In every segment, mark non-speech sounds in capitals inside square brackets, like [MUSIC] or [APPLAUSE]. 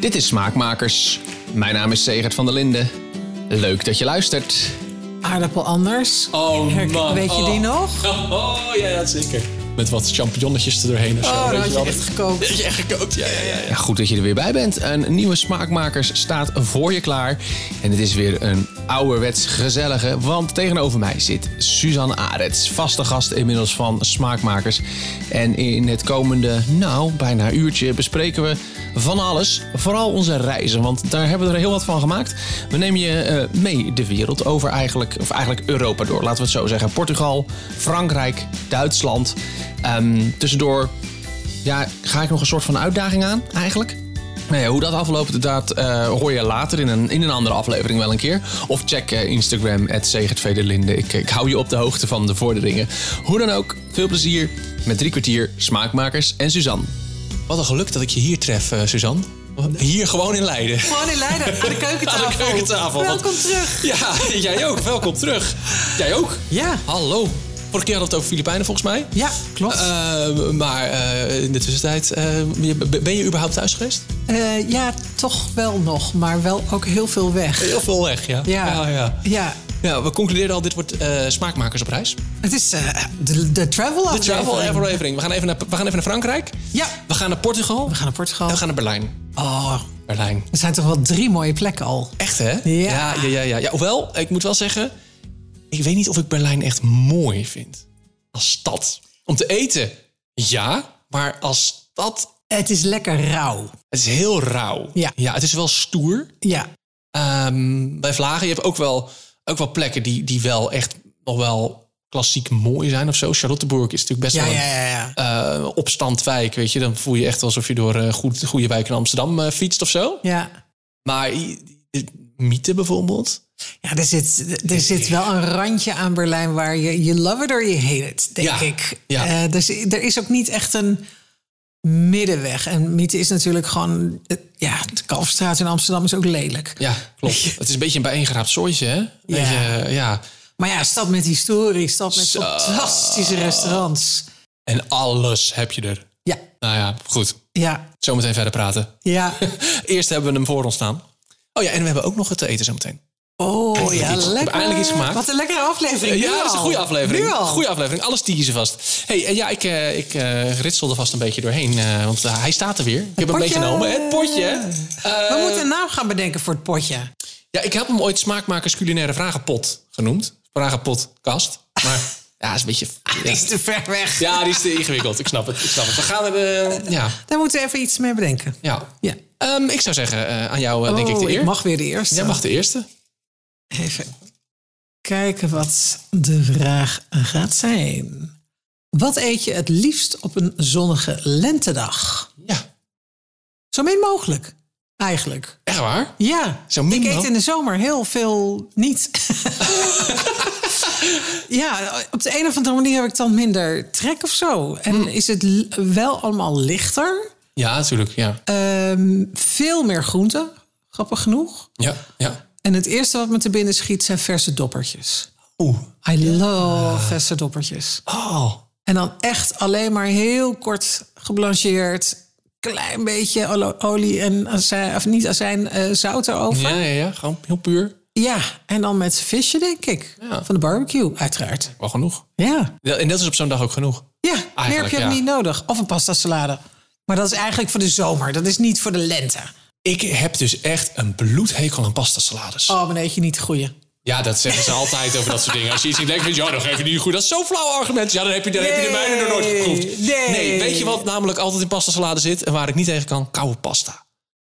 Dit is Smaakmakers. Mijn naam is Segert van der Linden. Leuk dat je luistert. Aardappel anders. Oh Herk- Weet je die nog? [LAUGHS] Oh, ja, zeker. Met wat champignonnetjes er doorheen. Oh, dat had je echt gekookt. je echt gekookt. Ja, ja, ja, Goed dat je er weer bij bent. Een nieuwe Smaakmakers staat voor je klaar. En het is weer een ouderwets gezellige. Want tegenover mij zit Suzanne Arets. Vaste gast inmiddels van Smaakmakers. En in het komende, nou, bijna uurtje bespreken we van alles. Vooral onze reizen, want daar hebben we er heel wat van gemaakt. We nemen je eh, mee de wereld over eigenlijk, of eigenlijk Europa door. Laten we het zo zeggen. Portugal, Frankrijk, Duitsland. Ehm, tussendoor ja, ga ik nog een soort van uitdaging aan eigenlijk? Nou ja, hoe dat afloopt, dat eh, hoor je later in een, in een andere aflevering wel een keer. Of check eh, Instagram, @segertvedelinde. Ik, ik hou je op de hoogte van de vorderingen. Hoe dan ook, veel plezier met drie kwartier Smaakmakers en Suzanne. Wat een geluk dat ik je hier tref, eh, Suzanne. Hier gewoon in Leiden. Gewoon in Leiden, aan de keukentafel. Aan de keukentafel. Welkom terug. Ja, [LAUGHS] jij ook. Welkom terug. Jij ook. Ja, Hallo. Vorige keer hadden we het over Filipijnen volgens mij. ja klopt. Eh, maar eh, in de tussentijd, eh, je- ben je überhaupt thuis geweest? Eh, ja, toch wel nog, maar wel ook heel veel weg. Heel veel weg, ja. Ja, ja, Oh, ja. ja. Ja, we concludeerden al, dit wordt eh, smaakmakers op reis. Het is eh, de, de travel De travel aflevering. aflevering. We gaan, even naar, we gaan even naar Frankrijk. Ja, We gaan naar Portugal. we gaan naar Portugal. En we gaan naar Berlijn. Oh, Berlijn. er zijn toch wel drie mooie plekken al. Echt, hè? Ja. Ja, ja, ja, ja. Ja, Hoewel, ik moet wel zeggen... Ik weet niet of ik Berlijn echt mooi vind. Als stad. Om te eten, ja. Maar als stad... Het is lekker rauw. Het is heel rauw. Ja. ja het is wel stoer. Ja, Ehm, bij Vlagen, je hebt ook wel, ook wel plekken die, die wel echt nog wel klassiek mooi zijn of zo. Charlottenburg is natuurlijk best ja, wel ja, een ja. ja. eh, opstandwijk, weet je. Dan voel je echt alsof je door eh goed, goede wijk in Amsterdam eh, fietst of zo. ja. Maar i- i- Mythe bijvoorbeeld. Ja, er zit, er zit wel een randje aan Berlijn waar je je love it or you hate it, denk Ja, ik. ja. Eh, dus er is ook niet echt een middenweg. En mythe is natuurlijk gewoon... eh, ja, de Kalfstraat in Amsterdam is ook lelijk. Ja, [LAUGHS] klopt. Het is een beetje een bijeengeraapt zooitje, hè? Beetje, ja. Maar ja, stad met historie, stad met Zo. fantastische restaurants. En alles heb je er. Ja, Nou ja, goed. ja, Zometeen verder praten. [LAUGHS] ja. Eerst hebben we hem voor ons staan. Oh ja, en we hebben ook nog het te eten zometeen. Oh ja, iets- lekker. eindelijk iets gemaakt. Wat een lekkere aflevering. nu Ja, dat is een al. goede aflevering. Nu al. Goede aflevering. Alles teasen vast. hey, eh, ja, ik, eh, ik eh, ritsel er vast een beetje doorheen. eh, want eh, hij staat er weer. Ik heb hem potje. meegenomen. Het potje. Eh, We moeten een naam gaan bedenken voor het potje. ja, ik heb hem ooit smaakmakers culinaire vragenpot genoemd. Vragenpotkast. Maar [LAUGHS] ja, is een beetje... Die is te ver weg. Ja, die is te ingewikkeld. Ik snap het. Ik snap het. We gaan er... eh, ja, Daar moeten we even iets mee bedenken. ja. Ja. Ehm, ik zou zeggen, eh, aan jou eh, denk ik Oh, de eer. mag weer de eerste. Jij mag de eerste. Even kijken wat de vraag gaat zijn. Wat eet je het liefst op een zonnige lentedag? Ja, Zo min mogelijk, eigenlijk. echt waar. Ja, Zo min ik eet mogelijk? in de zomer heel veel [LAUGHS] niet. ja, op de een of andere manier heb ik dan minder trek of zo. En Hmm. is het l- wel allemaal lichter? Ja, natuurlijk. Ja. Ehm, veel meer groente, grappig genoeg. Ja, ja. En het eerste wat me te binnen schiet zijn verse doppertjes. Oeh. I love verse doppertjes. Oh. En dan echt alleen maar heel kort geblancheerd. Klein beetje olo- olie en azijn, of niet azijn, eh zout erover. Ja, Ja. ja, ja. Gewoon heel puur. en dan met visje, denk ik. Ja. Van de barbecue, uiteraard. Wel genoeg. Ja, Ja, En dat is op zo'n dag ook genoeg. ja meer heb Eigenlijk, je ja. niet nodig. Of een pasta salade. Maar dat is eigenlijk voor de zomer. Dat is niet voor de lente. Ik heb dus echt een bloedhekel aan pastasalades. Oh, maar dan eet je niet de goede. Ja, dat zeggen ze altijd over dat soort dingen. Als je iets niet lekker vindt, ja, dan geef je niet goed. Dat is zo'n flauw argument. Ja, dan heb je, dan heb je de Nee, mijne nog nooit geproefd. nee. weet je wat namelijk altijd in pastasalade zit en waar ik niet tegen kan? Koude pasta.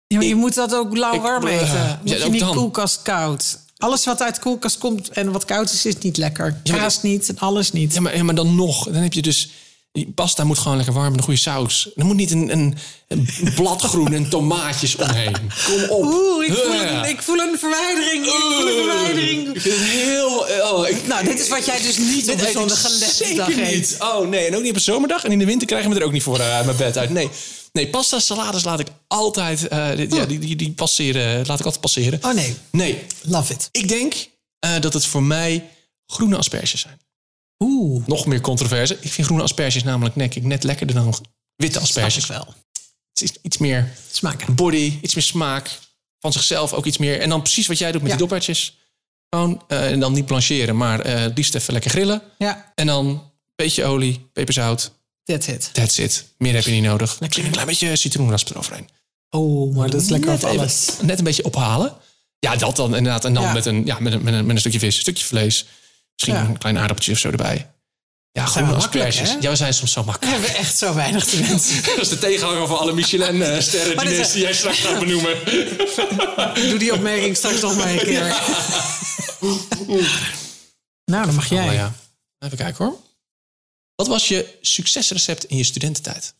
Ja, maar je moet dat ook lauw ik- warm eh, ja, eten. Moet je ook niet dan. koelkast koud. Alles wat uit de koelkast komt en wat koud is, is niet lekker. maar Kaas niet en alles niet. Ja, maar, ja, maar dan nog. Dan heb je dus... Die pasta moet gewoon lekker warm met een goede saus. Er moet niet een, een, een bladgroen en tomaatjes omheen. Kom op. Oeh, ik voel, Ja. een, ik voel een verwijdering. Ik voel een Ik verwijdering. vind het heel... Oh, ik, Nou, dit is wat jij dus niet op Dit een eet ik zondige lesdag Zeker eet. niet. Oh nee, en ook niet op een zomerdag. En in de winter krijgen we er ook niet voor eh, uit mijn bed uit. Nee, nee pasta salades laat ik altijd... eh, dit- ja, die, die, die passeren, laat ik altijd passeren. Oh nee, Nee, love it. ik denk eh, dat het voor mij groene asperges zijn. Oeh, Nog meer controverse. Ik vind groene asperges namelijk nek, ik net lekkerder dan witte dat is asperges. wel. Het Het is iets meer Smaken. body, iets meer smaak. Van zichzelf ook iets meer. En dan precies wat jij doet met Ja. die dobbertjes. Gewoon, eh, en dan niet blancheren, maar eh, het liefst even lekker grillen. Ja, En dan een beetje olie, peperzout. that's it. That's it. Meer heb je niet nodig. Misschien een klein beetje citroenrasp eroverheen. Oh, maar dat is lekker Net op even- alles. net een beetje ophalen. Ja, dat dan inderdaad. En dan Ja. met, een, ja, met, een, met, een, met een stukje vis, een stukje vlees. Misschien Ja. een klein aardappeltje of zo erbij. Ja, Zijn we gewoon makkelijk, asperges. hè? Ja, we zijn soms zo We makkelijk. hebben echt zo weinig te wensen. [LAUGHS] Dat is de tegenhanger van alle Michelin-sterren Maar dit is- die jij straks [LAUGHS] gaat benoemen. Doe die opmerking straks nog maar een keer. [LAUGHS] nou, dan mag jij. Oh, ja. Even kijken hoor. Wat was je succesrecept in je studententijd?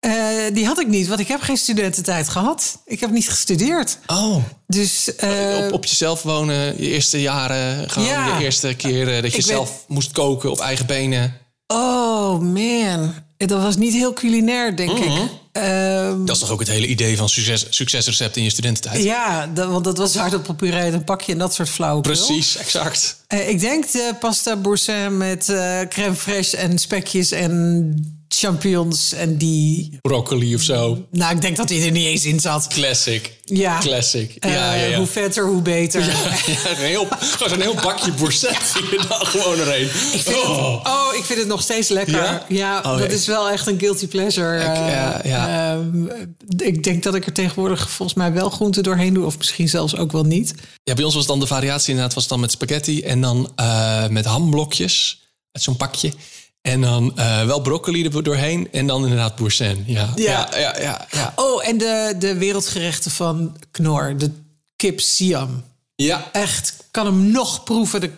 Eh, die had ik niet, want ik heb geen studententijd gehad. Ik heb niet gestudeerd. Oh. Dus eh, op, op jezelf wonen, je eerste jaren. Gewoon Ja. de eerste keer eh, dat je Ik zelf moest koken op eigen benen. Oh man, dat was niet heel culinair, denk ik. Ehm, Dat is toch ook het hele idee van succes, succesrecept in je studententijd? ja, dat- want dat was aardappelpuree uit een pakje en dat soort flauwekul. Precies, exact. Eh, ik denk de pasta boursin met eh, crème fraîche en spekjes en champignons en die... broccoli of zo. Nou, ik denk dat die er niet eens in zat. Classic. Ja. Classic. Eh, ja, ja, ja. Hoe vetter, hoe beter. [LAUGHS] Ja, een heel, gewoon zo'n heel bakje [LAUGHS] bourset die je dan gewoon erheen. Oh. [LAUGHS] Oh, ik vind het nog steeds lekker. Ja? Ja, Oh, dat ja. is wel echt een guilty pleasure. Eh, ja, ja. ehm, ik denk dat ik er tegenwoordig volgens mij wel groenten doorheen doe. Of misschien zelfs ook wel niet. Ja, bij ons was dan de variatie inderdaad was dan met spaghetti en dan eh, met hamblokjes uit zo'n pakje. En dan eh, wel broccoli er doorheen en dan inderdaad boursin. Ja, ja, Ja. ja. ja, ja, ja. Oh, en de, de wereldgerechten van Knor. De kip Siam. Echt, ik kan hem nog proeven. De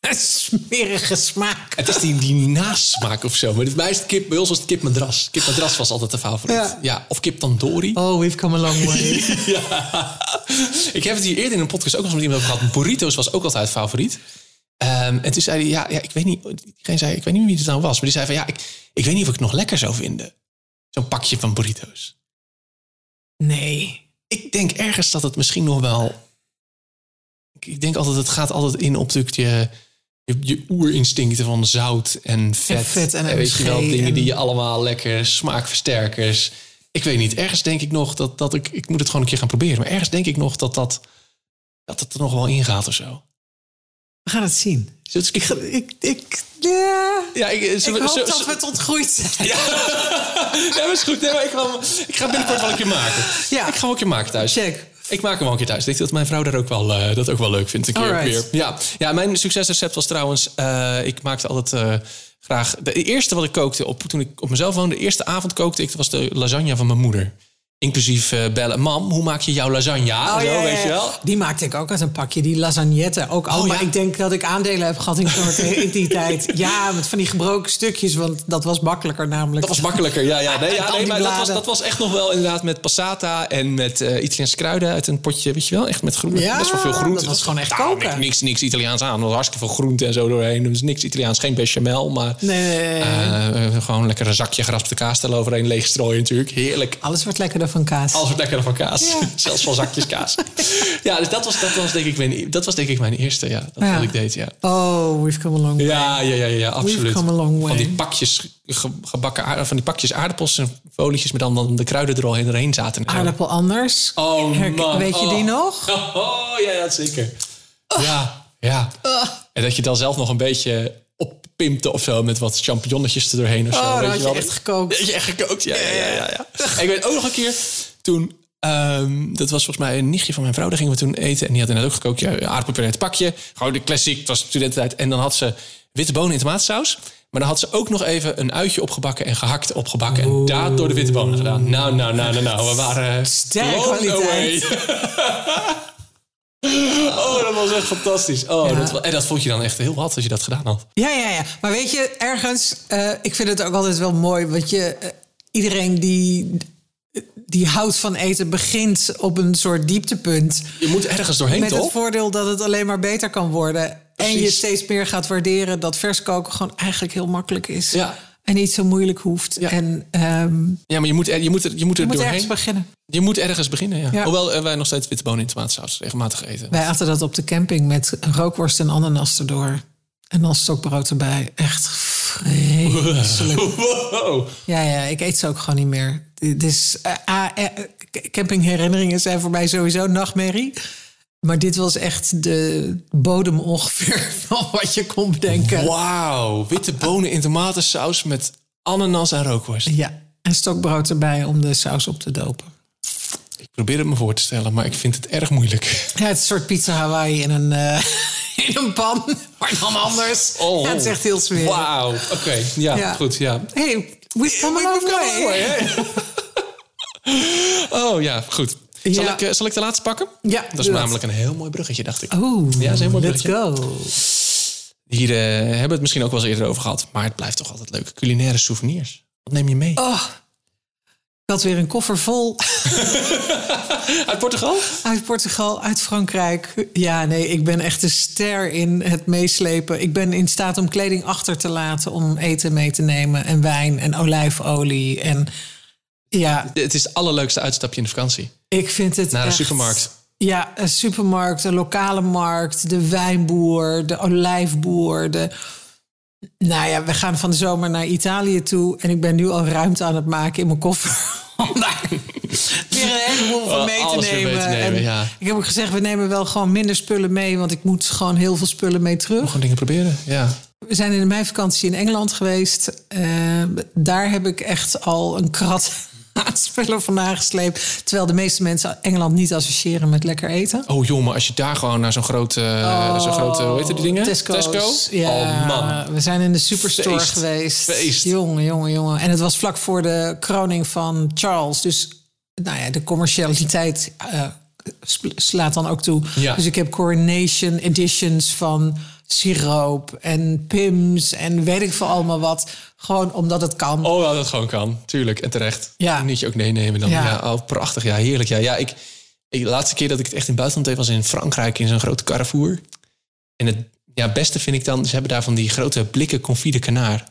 [LAUGHS] smerige smaak. Het is die, die nasmaak of zo. Maar bij, mij is het kip, bij ons was het kipmadras. Kipmadras was altijd de favoriet. Ja. Ja. Of kip tandoori. Oh, we've come a long [LAUGHS] way. Ja. Ik heb het hier eerder in een podcast ook nog eens met iemand over gehad. Burritos was ook altijd favoriet. Ehm, en toen zei hij, ja, ja ik weet niet, diegene zei, ik weet niet wie het nou was. Maar die zei van, ja, ik, ik weet niet of ik het nog lekker zou vinden. Zo'n pakje van burritos. Nee. Ik denk ergens dat het misschien nog wel... Ik, ik denk altijd, het gaat altijd in op natuurlijk je, je, je oerinstincten van zout en vet. En vet en weet je wel, MSG dingen en- die je allemaal lekker, smaakversterkers. Ik weet niet, ergens denk ik nog dat, dat ik... Ik moet het gewoon een keer gaan proberen. Maar ergens denk ik nog dat dat, dat het er nog wel in gaat of zo. We gaan het zien. Zullen we het- Ik, ik, ja. Ja, ik, ik zullen hoop we- zullen- dat we het ontgroeid zijn. Ja, nee, maar is goed. Nee, maar ik, ga, ik ga binnenkort wel een keer maken. Ja. Ik ga wel een keer maken thuis. Check. Ik maak hem wel een keer thuis. Ik denk dat mijn vrouw daar ook wel, eh, dat ook wel leuk vindt. Een keer Alright. weer. Ja. ja, mijn succesrecept was trouwens... eh, ik maakte altijd eh, graag... De eerste wat ik kookte op, toen ik op mezelf woonde... de eerste avond kookte ik, dat was de lasagne van mijn moeder. Inclusief eh, bellen. Mam, hoe maak je jouw lasagne? Oh, Zo, ja, ja, weet je ja. wel. Die maakte ik ook uit een pakje, die lasagnette. Ook al, Oh, maar ja. ik denk dat ik aandelen heb gehad in, Knor in die [LAUGHS] tijd. Ja, met van die gebroken stukjes, want dat was makkelijker namelijk. Dat was makkelijker, ja. ja. Nee, ja Dan nee, die maar dat was, bladen. dat was echt nog wel inderdaad met passata en met eh Italiaanse kruiden uit een potje, weet je wel? Echt met groenten, Ja, best wel veel dat groenten. was gewoon echt Daarom koken. niks- Niks, niks Italiaans aan, er was hartstikke veel groenten en zo doorheen. Er was niks Italiaans, geen bechamel, maar Nee, nee, nee, nee. eh, eh, gewoon lekker een zakje geraspte kaas eroverheen leegstrooien natuurlijk. Heerlijk. Alles wordt lekkerder van kaas. Alles wordt lekker van kaas. [LAUGHS] Zelfs van zakjes kaas. ja, dus dat was, dat, was denk ik mijn, dat was denk ik mijn eerste, ja. Dat Ja. wat ik deed, ja. Oh, we've come a long way. Ja, ja, ja, ja, ja, absoluut. come a long way. Van die pakjes ge- gebakken aarda- van die pakjes aardappels en folietjes met dan, dan de kruiden er al heen- doorheen zaten. en zo. Aardappel anders. Oh Herk- man. Weet je die Oh. [LAUGHS] nog? Oh ja, ja, zeker. Ja, ja. En dat je dan zelf nog een beetje oppimpte of zo met wat champignonnetjes er doorheen of zo. Oh, dan weet had je je wel. echt gekookt. Dat je echt gekookt, ja. ja, ja, ja, ja. En ik weet ook nog een keer toen... ehm, dat was volgens mij een nichtje van mijn vrouw. Daar gingen we toen eten. En die had inderdaad ook gekookt. Ja, aardappelpuree in het pakje. Gewoon de classic. Het was studententijd. En dan had ze witte bonen in tomatensaus. Maar dan had ze ook nog even een uitje opgebakken en gehakt opgebakken. En daar door de witte bonen gedaan. Nou, nou, nou, nou, nou. We waren eh, Sterke blown kwaliteit. away. [LAUGHS] oh, dat was echt fantastisch. Oh, Ja. dat, wa- en dat vond je dan echt heel wat als je dat gedaan had. Ja, ja, ja. Maar weet je, ergens, eh, ik vind het ook altijd wel mooi, want je, eh, iedereen die, die houdt van eten begint op een soort dieptepunt. Je moet ergens doorheen, Met het toch? voordeel dat het alleen maar beter kan worden. En je Precies. steeds meer gaat waarderen dat vers koken gewoon eigenlijk heel makkelijk is. Ja. En niet zo moeilijk hoeft. Ja. En ehm, Ja, maar je moet er, je moet er, je moet er je moet doorheen. ergens beginnen. Je moet ergens beginnen, ja. Ja. Hoewel eh, wij nog steeds witte bonen in tomatensaus regelmatig eten. Wij aten dat op de camping met rookworst en ananas erdoor. En dan stokbrood erbij. Echt vreselijk. Wow. [LAUGHS] Ja, ja, ik eet ze ook gewoon niet meer. Dit is, eh, ah, eh, k- campingherinneringen zijn voor mij sowieso een nachtmerrie. Maar dit was echt de bodem ongeveer [LAUGHS] van wat je kon bedenken. Wauw, witte bonen in tomatensaus met ananas en rookworst. Ja, en stokbrood erbij om de saus op te dopen. Ik probeer het me voor te stellen, maar ik vind het erg moeilijk. Ja, het is een soort pizza Hawaii in een, eh, [LAUGHS] in een pan, maar dan anders. Ja, het is echt heel smerig. Wauw, oké. Ja, Ja. goed, ja. Hey, we've come a long way. [LAUGHS] oh ja, goed. Zal, Ja. ik, eh, zal ik de laatste pakken? Ja, Dat is doe namelijk een heel mooi bruggetje, dacht ik. Oeh, Ja, is een heel mooi let's go. Hier eh, hebben we het misschien ook wel eens eerder over gehad, maar het blijft toch altijd leuk. Culinaire souvenirs. Wat neem je mee? Oh, ik had weer een koffer vol Uit Portugal? uit Portugal, uit Frankrijk. Ja, nee, ik ben echt een ster in het meeslepen. Ik ben in staat om kleding achter te laten, om eten mee te nemen. En wijn en olijfolie. En ja, Het is het allerleukste uitstapje in de vakantie. ik vind het Naar de echt- supermarkt. Ja, een supermarkt, een lokale markt, de wijnboer, de olijfboer. De... Nou ja, we gaan van de zomer naar Italië toe. En ik ben nu al ruimte aan het maken in mijn koffer. [LAUGHS] Om daar weer een heleboel van Oh, mee te alles weer mee nemen. te nemen, En ja. Ik heb ook gezegd, we nemen wel gewoon minder spullen mee. Want ik moet gewoon heel veel spullen mee terug. Gewoon dingen proberen, ja. We zijn in de meivakantie in Engeland geweest. Eh, daar heb ik echt al een krat [LAUGHS] aan spullen van aangesleept. Terwijl de meeste mensen Engeland niet associëren met lekker eten. Oh joh, maar als je daar gewoon naar zo'n grote, zo'n grote, hoe heet die dingen? Oh, Tesco's. Tesco? Ja, Oh man. We zijn in de superstore Feest. geweest. Feest. Jongen, jongen, jongen. En het was vlak voor de kroning van Charles. Dus nou ja, de commercialiteit eh, sp- slaat dan ook toe. Ja. Dus ik heb coronation editions van siroop en pims en weet ik veel allemaal wat. Gewoon omdat het kan. Oh, ja, dat gewoon kan. Tuurlijk. En terecht. Ja. Een minuutje ook nee nemen dan. Ja. Ja. oh, prachtig. Ja, heerlijk. Ja, ja ik, ik, de laatste keer dat ik het echt in het buitenland deed... was in Frankrijk in zo'n grote Carrefour. En het ja, beste vind ik dan... ze hebben daar van die grote blikken confit de kanaar.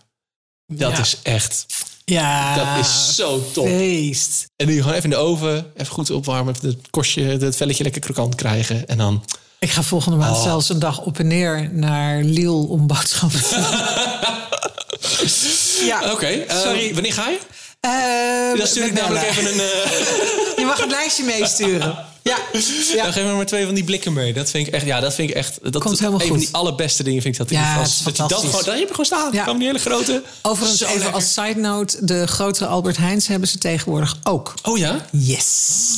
Dat Ja. is echt... ja, Dat is zo top. feest. En nu gewoon even in de oven. Even goed opwarmen. Even het korstje, het velletje lekker krokant krijgen. En dan... Ik ga volgende maand Oh. zelfs een dag op en neer naar Lille om boodschappen te doen. ja. Oké. eh, Sorry. wanneer ga je? Eh, Dan stuur ik met namelijk Bella. even een... eh, [LAUGHS] Je mag het lijstje meesturen. Ja, Dan ja. geef me maar twee van die blikken mee. Dat vind ik echt, ja, dat vind ik echt. Dat Komt helemaal een goed. van die allerbeste dingen vind ik dat in Ja, de het is vakantie. Dat je dat fantastisch. gewoon, daar heb je gewoon staan. Ja. Gewoon die hele grote. Overigens, Zo even lekker. als side note: de grotere Albert Heijns hebben ze tegenwoordig ook. Oh ja? Yes.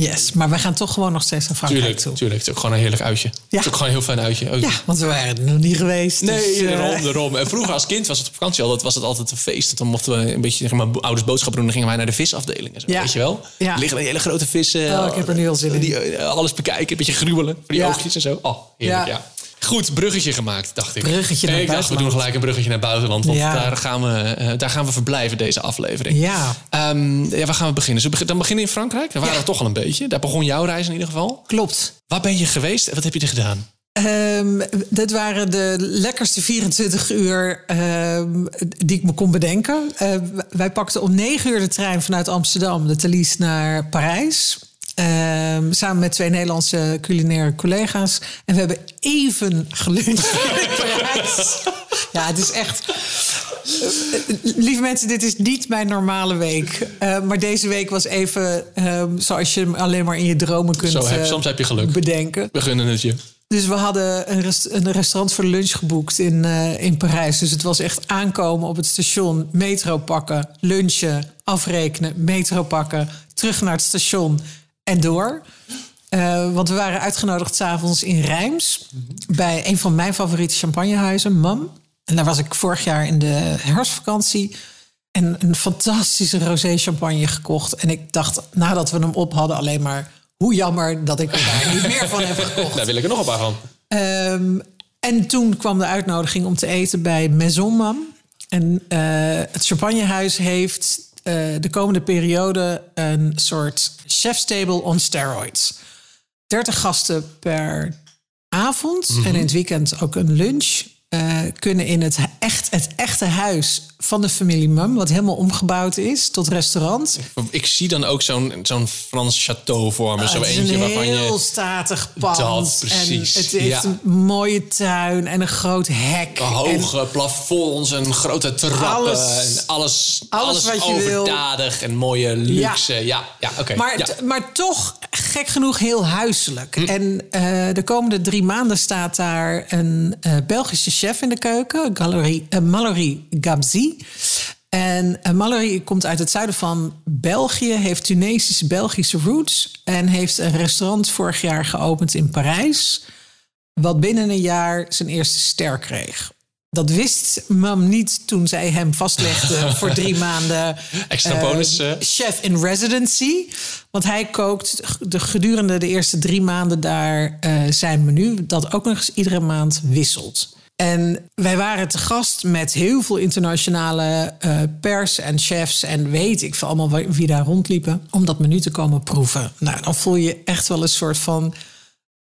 Yes, maar we gaan toch gewoon nog steeds naar Frankrijk Tuurlijk, toe. tuurlijk. Het is ook gewoon een heerlijk uitje. Het is ook gewoon een heel fijn uitje. Oh, Ook- Ja, want we waren er nog niet geweest. dus, Nee, eh, daarom, daarom. En vroeger als kind was het op vakantie al, dat was het altijd een feest. Want Dan mochten we een beetje, zeg maar, bo- ouders boodschappen doen. Dan gingen wij naar de visafdeling en zo, Ja. weet je wel? Ja. Er liggen die hele grote vissen. Oh, ik heb er nu heel zin in. Die, eh, alles bekijken, een beetje gruwelen voor die Ja. oogjes en zo. Oh, heerlijk, ja. Ja. Goed, bruggetje gemaakt, dacht ik. Bruggetje naar Nee, ik dacht, we doen buitenland. gelijk een bruggetje naar buitenland. Want Ja. daar, gaan we, eh, daar gaan we verblijven, deze aflevering. Ja. Ehm, ja, waar gaan we beginnen? Zullen we beg- dan beginnen in Frankrijk? Daar waren we toch al een beetje. Daar begon jouw reis in ieder geval. klopt. Waar ben je geweest en wat heb je er gedaan? Ehm, dit waren de lekkerste 24 uur ehm, die ik me kon bedenken. Eh, wij pakten om 9 uur de trein vanuit Amsterdam, de Thalys, naar Parijs. Ehm, samen met twee Nederlandse culinaire collega's. En we hebben even geluncht [LAUGHS] in Parijs. Ja, het is echt... eh, Lieve mensen, dit is niet mijn normale week. Eh, maar deze week was even ehm, zoals je hem alleen maar in je dromen kunt Zo heb- eh, soms heb je geluk. bedenken. We gunnen het je. Dus we hadden een, rest- een restaurant voor lunch geboekt in, eh, in Parijs. Dus het was echt aankomen op het station, metro pakken, lunchen, afrekenen, metro pakken, terug naar het station en door. Eh, want we waren uitgenodigd s'avonds in Rijms bij een van mijn favoriete champagnehuizen, Mam. En daar was ik vorig jaar in de herfstvakantie. En een fantastische rosé champagne gekocht. En ik dacht nadat we hem op hadden alleen maar... hoe jammer dat ik er daar niet meer van heb gekocht. Daar wil ik er nog een paar van. Ehm, en toen kwam de uitnodiging om te eten bij Maison Mam. En eh, het champagnehuis heeft eh, de komende periode een soort chef's table on steroids. Mhm. 30 gasten per avond en in het weekend ook een lunch. Eh, eh, kunnen in het, echt, het echte huis van de familie Mum, wat helemaal omgebouwd is tot restaurant. Ik zie dan ook zo'n zo'n Frans château voor me. zo Ah, het is eentje een waarvan heel je... statig pand. Dat precies, En het heeft ja. een mooie tuin en een groot hek. En Hoge plafonds en grote trappen. Alles- en alles, alles, alles wat je wil. overdadig en mooie luxe. Ja, ja, oké. Maar, ja. t- maar toch, gek genoeg, heel huiselijk. En eh, de komende drie maanden staat daar een eh, Belgische chef in de keuken, Galerie, eh, Mallory Gabzi. En eh, Mallory komt uit het zuiden van België, heeft Tunesische Belgische roots en heeft een restaurant vorig jaar geopend in Parijs, wat binnen een jaar zijn eerste ster kreeg. Dat wist mam niet toen zij hem [LAUGHS] vastlegde voor drie maanden Ehm, Extra bonus, eh. chef in residency. Want hij kookt de, gedurende de eerste drie maanden daar eh, zijn menu, dat ook nog eens iedere maand wisselt. En wij waren te gast met heel veel internationale eh, pers en chefs en weet ik veel allemaal wie, wie daar rondliepen, om dat menu te komen proeven. Nou, dan voel je echt wel een soort van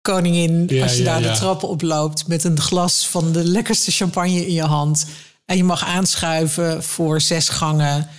koningin Ja, als je ja, daar ja. de trappen oploopt met een glas van de lekkerste champagne in je hand. En je mag aanschuiven voor zes gangen.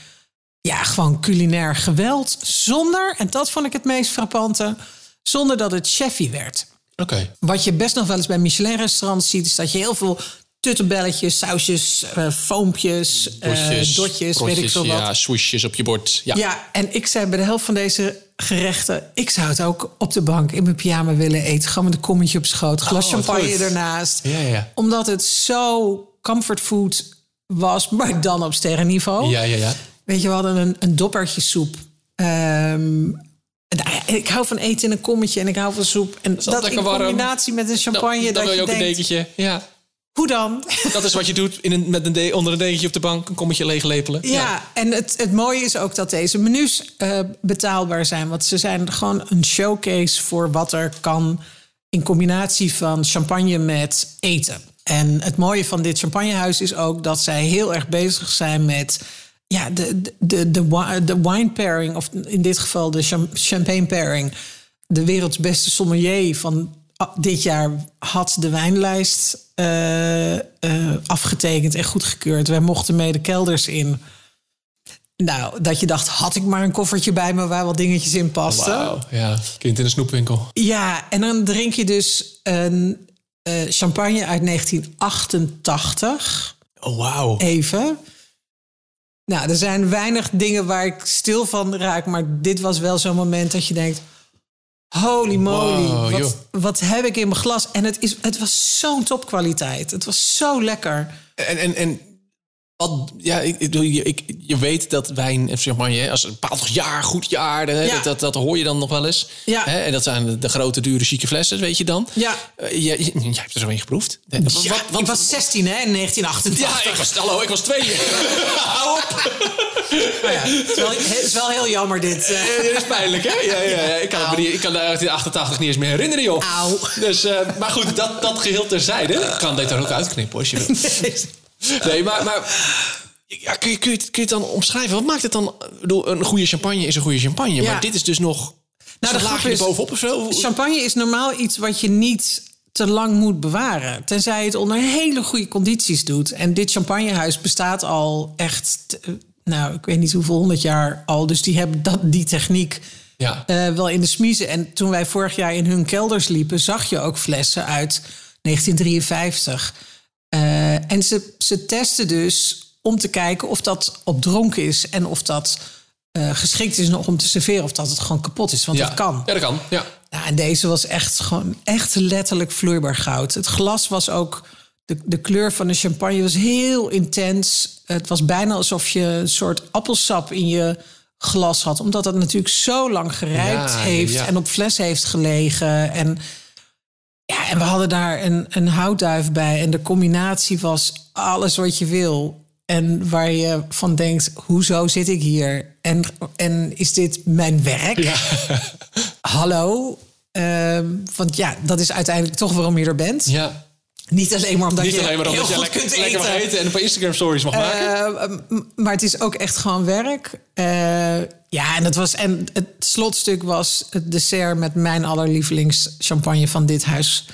Ja, gewoon culinair geweld. Zonder, en dat vond ik het meest frappante, zonder dat het cheffy werd. Oké. Wat je best nog wel eens bij Michelin-restaurants ziet, is dat je heel veel tuttenbelletjes, sausjes, eh foompjes, eh, Potjes, dotjes, weet ik potjes, veel wat. Ja, swoesjes op je bord. Ja. Ja, en ik zei bij de helft van deze gerechten... ik zou het ook op de bank in mijn pyjama willen eten. Gewoon met een kommetje op schoot, glas Oh, wat champagne goed. ernaast. Ja, ja, ja. Omdat het zo comfortfood was, maar dan op sterrenniveau. ja, ja, ja. Weet je, we hadden Oh. een, een doppertje soep. Ehm, nou ja, ik hou van eten in een kommetje en ik hou van soep. En dat, altijd in lekker warm. combinatie met een champagne, Nou, dan, dan wil dat je ook je denkt, een dekentje. Ja. hoe dan? Dat is wat je doet in een, met een de- onder een dekentje op de bank. Een kommetje leeglepelen. Ja, en het, het mooie is ook dat deze menus eh, betaalbaar zijn. Want ze zijn gewoon een showcase voor wat er kan in combinatie van champagne met eten. En het mooie van dit champagnehuis is ook dat zij heel erg bezig zijn met ja, de, de, de, de, wi- de wine pairing, of in dit geval de cham- champagne pairing. De werelds beste sommelier van ah, dit jaar had de wijnlijst eh, eh, afgetekend en goedgekeurd. Wij mochten mee de kelders in. Nou, dat je dacht, had ik maar een koffertje bij me waar wat dingetjes in pasten. Wauw. Ja. Kind in een snoepwinkel. Ja, en dan drink je dus een eh, champagne uit 1988. Oh, wauw. Even. Nou, er zijn weinig dingen waar ik stil van raak, maar dit was wel zo'n moment dat je denkt: holy moly, Wow, joh. wat, wat heb ik in mijn glas? En het, is, het was zo'n topkwaliteit. Het was zo lekker. En, en, en wat, ja, ik, ik, bedoel, je- ik, je weet dat wijn en champagne, hè, als een bepaald jaar, goed jaar, hè, Ja. dat, dat, dat hoor je dan nog wel eens. Ja. Hè, en dat zijn de, de grote, dure, chique flessen, weet je dan. Ja. Eh, jij- jij- jij hebt er zo een geproefd. Eh, wat- Ja, wat- wat- ik was 16 hè, in 1988. ja, ik was, hallo, ik was twee. [LAUGHS] Hou op. Nou ja, het, is wel, het is wel heel jammer dit. [LAUGHS] eh. Eh, Dit is pijnlijk, hè? Ja, ja, ja. Ik kan, het me niet, ik kan daar uit 88 niet eens meer herinneren, joh. Auw. Dus, eh, maar goed, dat, dat geheel terzijde. Ik kan dit er ook uitknippen, als je wil. [LAUGHS] Nee, maar, maar ja, kun, je, kun, je het, kun je het dan omschrijven? Wat maakt het dan? Ik bedoel, een goede champagne is een goede champagne. Ja. Maar dit is dus nog nou, een de grap laagje is- bovenop of zo? Champagne is normaal iets wat je niet te lang moet bewaren. Tenzij je het onder hele goede condities doet. En dit champagnehuis bestaat al echt, eh, nou, ik weet niet hoeveel honderd jaar al. Dus die hebben dat, die techniek Ja. eh, wel in de smiezen. En toen wij vorig jaar in hun kelders liepen, zag je ook flessen uit 1953. Eh, en ze, ze testen dus om te kijken of dat opdronken is en of dat eh, geschikt is nog om te serveren of dat het gewoon kapot is. Want ja. dat kan. Ja, dat kan. Ja. Nou, en deze was echt, gewoon, echt letterlijk vloeibaar goud. Het glas was ook. De, de kleur van de champagne was heel intens. Het was bijna alsof je een soort appelsap in je glas had. Omdat dat natuurlijk zo lang gerijpt Ja, heeft ja. en op fles heeft gelegen. En, ja, en we hadden daar een, een houtduif bij. En de combinatie was alles wat je wil. En waar je van denkt, hoezo zit ik hier? En, en is dit mijn werk? hallo. Ehm, want ja, dat is uiteindelijk toch waarom je er bent. [LAUGHS] ja. Niet alleen maar omdat Niet je alleen maar heel omdat je goed lekker, kunt lekker mag eten. eten en een paar Instagram stories mag maken. Ehm, m- maar het is ook echt gewoon werk. Eh, ja, en, dat was, en het slotstuk was het dessert met mijn allerlievelingschampagne van dit huis.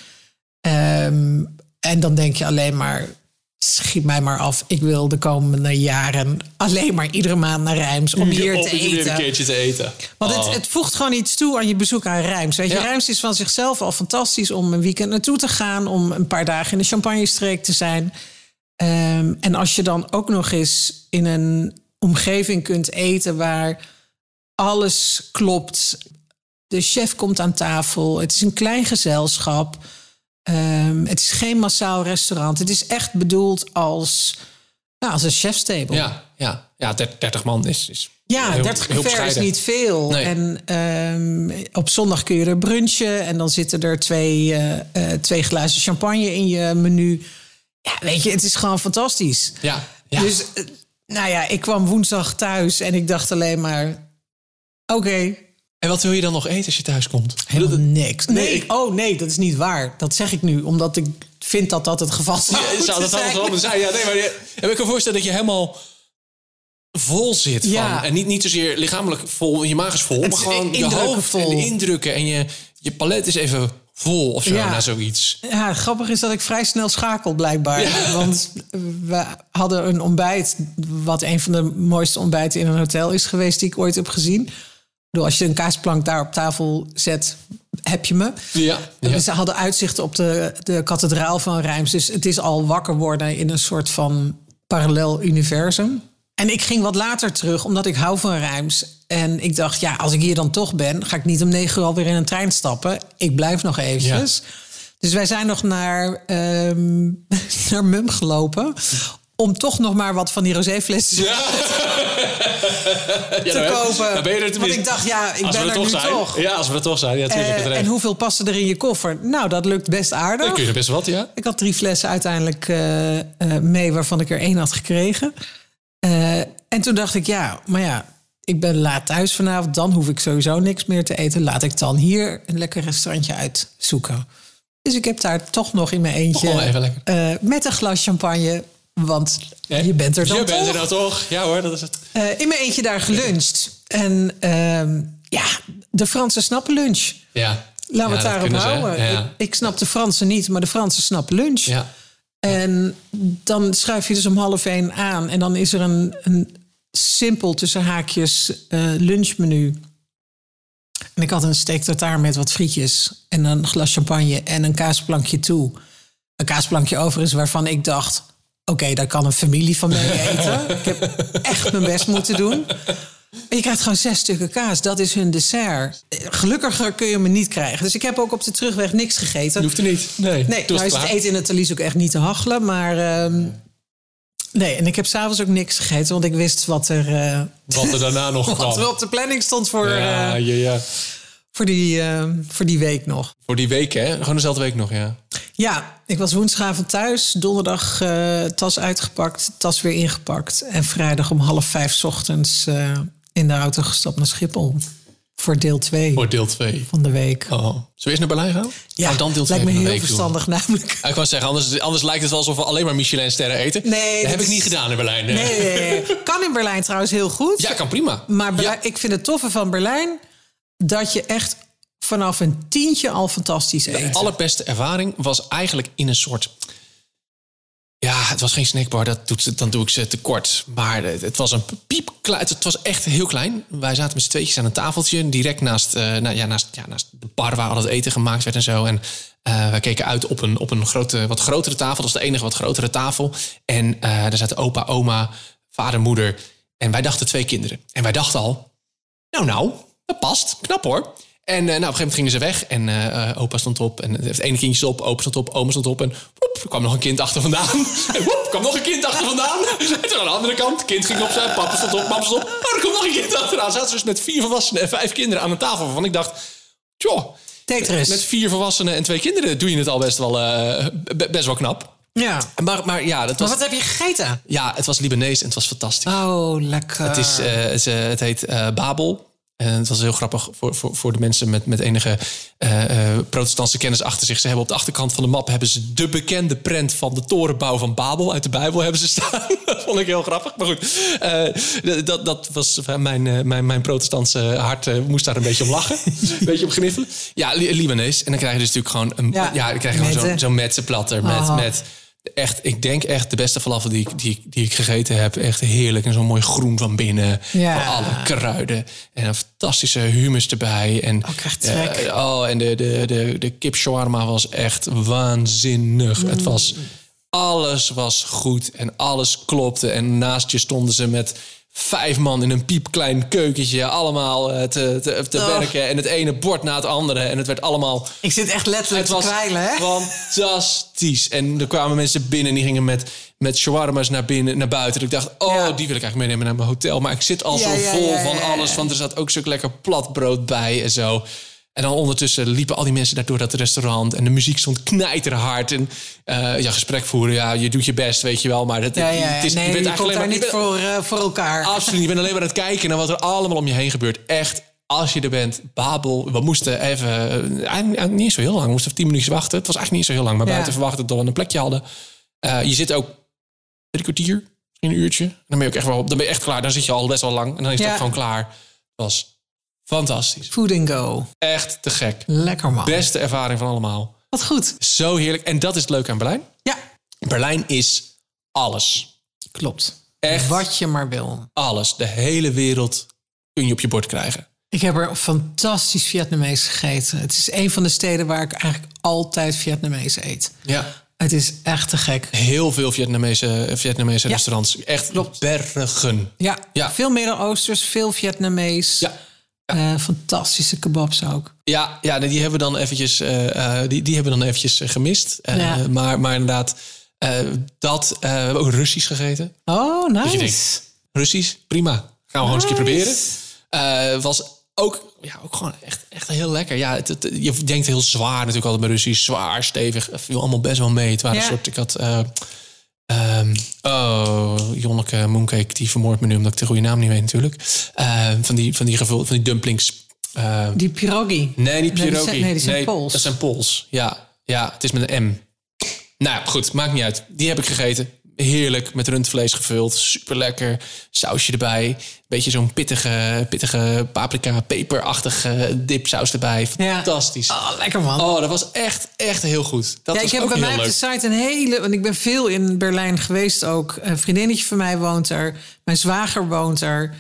Ehm, en dan denk je alleen maar, Schiet mij maar af. Ik wil de komende jaren alleen maar iedere maand naar Rijms om hier Om te hier weer een eten. keertje te eten. Want Oh. het, het voegt gewoon iets toe aan je bezoek aan Rijms. Weet je, Ja. Rijms is van zichzelf al fantastisch om een weekend naartoe te gaan, om een paar dagen in de champagne-streek te zijn. Ehm, en als je dan ook nog eens in een omgeving kunt eten waar alles klopt. De chef komt aan tafel. Het is een klein gezelschap. Ehm, het is geen massaal restaurant. Het is echt bedoeld als, nou, als een chefstable. Ja, ja, ja 30 man is, is Ja, heel- 30 heel gever is bescheiden. niet veel. Nee. En ehm, op zondag kun je er brunchen en dan zitten er twee, eh, eh, twee glazen champagne in je menu. Ja, weet je, het is gewoon fantastisch. Ja, ja. Dus, eh, nou ja, ik kwam woensdag thuis en ik dacht alleen maar: oké, en wat wil je dan nog eten als je thuis komt? helemaal niks. Nee, Nee, ik- oh nee, dat is niet waar. Dat zeg ik nu, omdat ik vind dat dat het geval [LAUGHS] zou Ja, zou moeten dat zijn. allemaal moeten zijn? Ja, nee, maar je, en ik kan me voorstellen dat je helemaal vol zit van. Ja. En niet, niet zozeer lichamelijk vol, je maag is vol, Het maar is gewoon je indrukken hoofd vol. en de indrukken en je, je palet is even vol of zo Ja. na zoiets. Ja, grappig is dat ik vrij snel schakel blijkbaar. [LAUGHS] Want we hadden een ontbijt, wat een van de mooiste ontbijten in een hotel is geweest die ik ooit heb gezien. Ik bedoel, als je een kaasplank daar op tafel zet, heb je me. Ja, ja. Dus Ze hadden uitzicht op de, de kathedraal van Rijms. Dus het is al wakker worden in een soort van parallel universum. En ik ging wat later terug, omdat ik hou van Rijms. En ik dacht, ja, als ik hier dan toch ben... ga ik niet om negen uur alweer in een trein stappen. Ik blijf nog eventjes. Dus wij zijn nog naar, ehm, [LAUGHS] naar Mum gelopen... om toch nog maar wat van die roséflessen [LAUGHS] Ja, te nou, kopen. dan ben je er Want tenminste. ik dacht, ja, ik als ben we er er toch nu zijn. toch. Ja, als we er toch zijn. Ja, tuurlijk. Eh, het recht. en hoeveel passen er in je koffer? Nou, dat lukt best aardig. Dan kun je er best wat, ja. Ik had drie flessen uiteindelijk eh, eh, mee, waarvan ik er één had gekregen. Eh, en toen dacht ik, ja, maar ja, ik ben laat thuis vanavond. Dan hoef ik sowieso niks meer te eten. Laat ik dan hier een lekker restaurantje uitzoeken. Dus ik heb daar toch nog in mijn eentje... Gewoon even lekker. eh, met een glas champagne, want Nee, je bent er dan Je bent toch. er dan toch. Ja hoor, dat is het. Eh, in mijn eentje daar geluncht. En ehm, ja, de Fransen snappen lunch. Ja. Laten we Ja, het dat daarop kunnen ze, hè? houden. Ja. Ik, ik snap de Fransen niet, maar de Fransen snappen lunch. Ja. En dan schuif je dus om half één aan. En dan is er een, een simpel tussen haakjes eh, lunchmenu. En ik had een steak tartaar met wat frietjes. En een glas champagne en een kaasplankje toe. Een kaasplankje overigens waarvan ik dacht... oké, daar kan een familie van mee eten. ik heb echt mijn best moeten doen. En je krijgt gewoon zes stukken kaas. Dat is hun dessert. Eh, Gelukkiger kun je me niet krijgen. Dus ik heb ook op de terugweg niks gegeten. Je hoeft er niet. Nee, Toen Nee, nou was is het klaar. eten in het Thalys ook echt niet te hachelen. Maar ehm, nee, en ik heb s'avonds ook niks gegeten. Want ik wist wat er, eh, Wat er daarna nog [LAUGHS] wat er kwam. op de planning stond voor, Ja, ja, eh, ja. voor, die, eh, voor die week nog. Voor die week, hè? Gewoon dezelfde week nog, ja. Ja, ik was woensdagavond thuis. Donderdag eh, tas uitgepakt, tas weer ingepakt. En vrijdag om half vijf 's ochtends eh, in de auto gestapt naar Schiphol. Voor deel 2 Voor deel 2. van de week. Oh. Zullen we eerst naar Berlijn gaan? ja, Oh, dan deel 2 van lijkt me de heel week doen. verstandig namelijk. [LAUGHS] Ja, Ik wou zeggen, anders, anders lijkt het wel alsof we alleen maar Michelinsterren eten. Nee, dat dat heb ik is- niet gedaan in Berlijn. nee. Nee, nee, nee, nee. Kan in Berlijn trouwens heel goed. Ja, kan prima. Maar Berlijn- Ja. ik vind het toffe van Berlijn dat je echt vanaf een tientje al fantastisch De eet. allerbeste ervaring was eigenlijk in een soort... Ja, het was geen snackbar, dat doet, ze- dan doe ik ze tekort. Maar het, het was een piepklein... Het was echt heel klein. Wij zaten met z'n tweetjes aan een tafeltje... direct naast, eh, nou, ja, naast, ja, naast de bar waar al het eten gemaakt werd en zo. En eh, wij keken uit op een, op een grote, wat grotere tafel. Dat was de enige wat grotere tafel. En eh, daar zaten opa, oma, vader, moeder... En wij dachten twee kinderen. En wij dachten al, Nou, nou, dat past. Knap hoor. En eh, nou, op een gegeven moment gingen ze weg. En eh, eh, opa stond op. En het ene kindje stond op. Opa stond op. Oma stond op. En woep, er kwam nog een kind achter vandaan. [LAUGHS] En woep, er kwam nog een kind achter vandaan. [LAUGHS] En toen aan de andere kant. Het kind ging opzij. Papa stond op. Mama stond op. Oh, er kwam nog een kind achteraan. Zaten ze dus met vier volwassenen en vijf kinderen aan een tafel. Waarvan ik dacht, joh. Tetris. Met vier volwassenen en twee kinderen doe je het al best wel, eh, be- best wel knap. Ja. Maar, maar ja, dat Maar was, wat heb je gegeten? ja, het was Libanees en het was fantastisch. Oh, lekker. Het, is, eh, het, is, eh, het heet eh, Babel. En het was heel grappig voor, voor, voor de mensen met, met enige eh, eh, protestantse kennis achter zich. Ze hebben op de achterkant van de map hebben ze de bekende prent van de torenbouw van Babel uit de Bijbel hebben ze staan. [LAUGHS] dat vond ik heel grappig. Maar goed, eh, dat, dat was eh, mijn, eh, mijn, mijn protestantse hart eh, moest daar een beetje om lachen. [LAUGHS] een beetje om gniffelen. Ja, Li- Libanees. En dan krijg je dus natuurlijk gewoon, een, ja. Ja, dan krijg je gewoon metten. zo'n zo'n metsenplatter met, Oh. met echt, ik denk echt de beste falafel die ik, die, ik- die ik gegeten heb. Echt heerlijk. En zo'n mooi groen van binnen. Ja. Van alle kruiden. En een fantastische humus erbij. En, Oh, ik krijg trek. eh, oh, en de, de, de, de kip shawarma was echt waanzinnig. Het was, alles was goed en alles klopte. En naast je stonden ze met vijf man in een piepklein keukentje. Allemaal eh, te, te, te Oh. werken. En het ene bord na het andere. En het werd allemaal Ik zit echt letterlijk te kwijlen, hè? fantastisch. En er kwamen mensen binnen en die gingen met, met shawarma's naar, binnen, naar buiten. En ik dacht, oh, Ja. die wil ik eigenlijk meenemen naar mijn hotel. Maar ik zit al Ja, zo ja, vol ja, van ja, ja, alles. ja. Want er zat ook zo'n lekker platbrood bij en zo. En dan ondertussen liepen al die mensen daar door dat restaurant. En de muziek stond knijterhard. En eh, ja, gesprek voeren, ja, je doet je best, weet je wel. Maar dat, Ja, ja, het is, nee, je bent je eigenlijk komt alleen daar maar... je niet bent- Ah. voor, eh, voor elkaar. Absoluut. Ik ben alleen maar aan het kijken naar wat er allemaal om je heen gebeurt. Echt, als je er bent, Babel. We moesten even, eh, eigenlijk- eigenlijk niet zo heel lang. We moesten tien minuten wachten. Het was eigenlijk niet zo heel lang. Maar Ja. buiten verwachten dat we een plekje hadden. Eh, je zit ook drie kwartier, misschien een uurtje. Dan ben je ook echt wel, dan ben je echt klaar. Dan zit je al best wel lang. En dan is het Ja. ook gewoon klaar. Het was fantastisch. Food and go. Echt te gek. Lekker man. Beste ervaring van allemaal. Wat goed. Zo heerlijk. En dat is het leuke aan Berlijn. Ja, Berlijn is alles. klopt. Echt? Wat je maar wil. Alles. De hele wereld kun je op je bord krijgen. Ik heb er fantastisch Vietnamees gegeten. Het is een van de steden waar ik eigenlijk altijd Vietnamees eet. Ja. Het is echt te gek. heel veel Vietnamese, eh, Vietnamese Ja. restaurants. Echt bergen. Ja, Ja. veel Midden-Oosters, veel Vietnamees. Ja. Eh, fantastische kebabs ook. Ja, ja die hebben we dan eventjes, eh, eh, die, die hebben we dan eventjes eh, gemist. Eh, Ja. maar, maar inderdaad, eh, dat. eh, we hebben ook Russisch gegeten. Oh, Dat je nice. denkt, Russisch, prima. Gaan we gewoon eens een keer Nice. proberen. Eh, was ook, ja, ook gewoon echt, echt heel lekker. Ja, het, het- je denkt heel zwaar natuurlijk altijd bij Russisch. Zwaar, stevig. Het viel allemaal best wel mee. Het waren Ja. een soort, ik had... eh, ehm, oh, Jonneke Mooncake, die vermoordt me nu... omdat ik de goede naam niet weet natuurlijk. Eh, van, die, van, die gevul, van die dumplings. eh, Die pierogi. nee, niet die zijn- pierogi. nee, die zijn Pools. Dat zijn Pools, ja. Ja, het is met een M. Nou, goed, maakt niet uit. Die heb ik gegeten. Heerlijk, met rundvlees gevuld. Super lekker. Sausje erbij. Beetje zo'n pittige, pittige paprika, peperachtige dipsaus erbij. Ja. Fantastisch. Oh, lekker man. Oh, dat was echt, echt heel goed. Dat Ja, ik was heb ook bij mij heel op de leuk. site een hele. Want ik ben veel in Berlijn geweest ook. Een vriendinnetje van mij woont er. Mijn zwager woont er.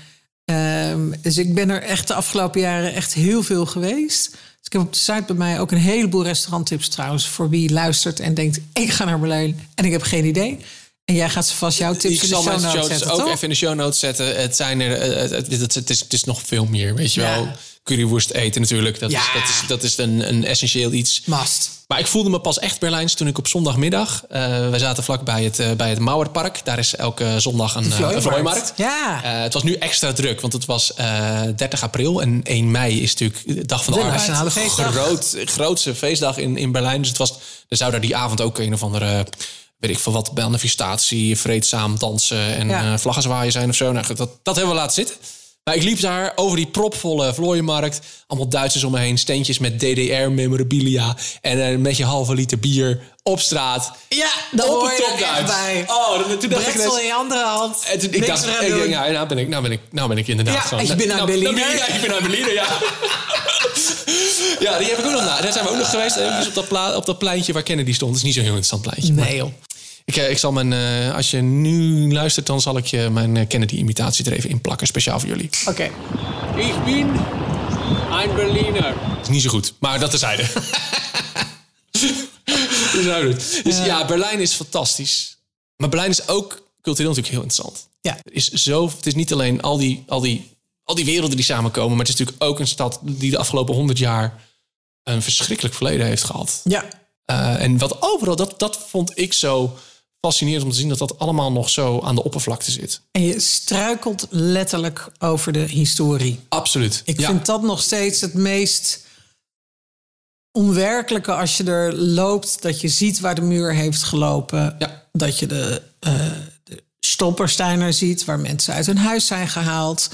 Ehm, dus ik ben er echt de afgelopen jaren echt heel veel geweest. Dus ik heb op de site bij mij ook een heleboel restauranttips trouwens. Voor wie luistert en denkt: ik ga naar Berlijn en ik heb geen idee. En jij gaat ze vast jouw tips Ik in de zal mijn show show notes notes zetten, ook toch? even in de show notes zetten. Het, zijn er, eh, het, het, het- het is, het is nog veel meer, weet je Ja. wel. Curryworst eten natuurlijk. Dat, Ja. is, dat, is, dat is een, een essentieel iets. Must. Maar ik voelde me pas echt Berlijns toen ik op zondagmiddag... eh wij zaten vlak bij het, eh, bij het Mauerpark. Daar is elke zondag een, eh, een Vlooimarkt. vlooimarkt. Ja. Eh, het was nu extra druk, want het was eh 30 april. En 1 mei is natuurlijk de dag van de, De arbeid. nationale feestdag. Groot, grootste feestdag in, in Berlijn. Dus het was, er zou daar die avond ook een of andere... weet ik veel wat, manifestatie, vreedzaam dansen... en Ja. eh, vlaggen zwaaien zijn of zo. Nou, goed, dat, dat hebben we laten zitten. Maar ik liep daar over die propvolle vlooienmarkt. Allemaal Duitsers om me heen. Steentjes met DDR-memorabilia. En eh, met je halve liter bier op straat. Ja, daar Op hoor een je dan echt topduit. bij. Oh, toen- toen dacht ik Bretsel net- in je andere hand. en toen, ik Niks dacht, meer aan ik doen. denk, nou, nou ben ik, nou ben ik, nou ben ik inderdaad Ja, gewoon. ik ben nou, aan nou, Berliner. nou [LAUGHS] ben ik- ja, ik ben aan Berliner, ja. ja, die heb ik ook nog na. Daar zijn we ook nog geweest. Even op dat, pla- op dat pleintje waar Kennedy stond. Het is niet zo'n heel interessant pleintje. maar Nee, joh. Ik, eh, ik zal mijn, eh, als je nu luistert, dan zal ik je mijn eh, Kennedy-imitatie er even in plakken. Speciaal voor jullie. Oké. Ich bin ein Berliner. is niet zo goed, maar dat terzijde. [LAUGHS] dus nou goed. Dus ja, Berlijn is fantastisch. Maar Berlijn is ook cultureel natuurlijk heel interessant. Ja. Er is zo, het is niet alleen al die, al, die, al die werelden die samenkomen... maar het is natuurlijk ook een stad die de afgelopen honderd jaar... een verschrikkelijk verleden heeft gehad. Ja. Eh, en wat overal, dat, dat vond ik zo fascinerend om te zien... dat dat allemaal nog zo aan de oppervlakte zit. En je struikelt letterlijk over de historie. Absoluut. Ik Ja. vind dat nog steeds het meest onwerkelijke als je er loopt. Dat je ziet waar de muur heeft gelopen. Ja. Dat je de, eh de stolpersteiner ziet waar mensen uit hun huis zijn gehaald.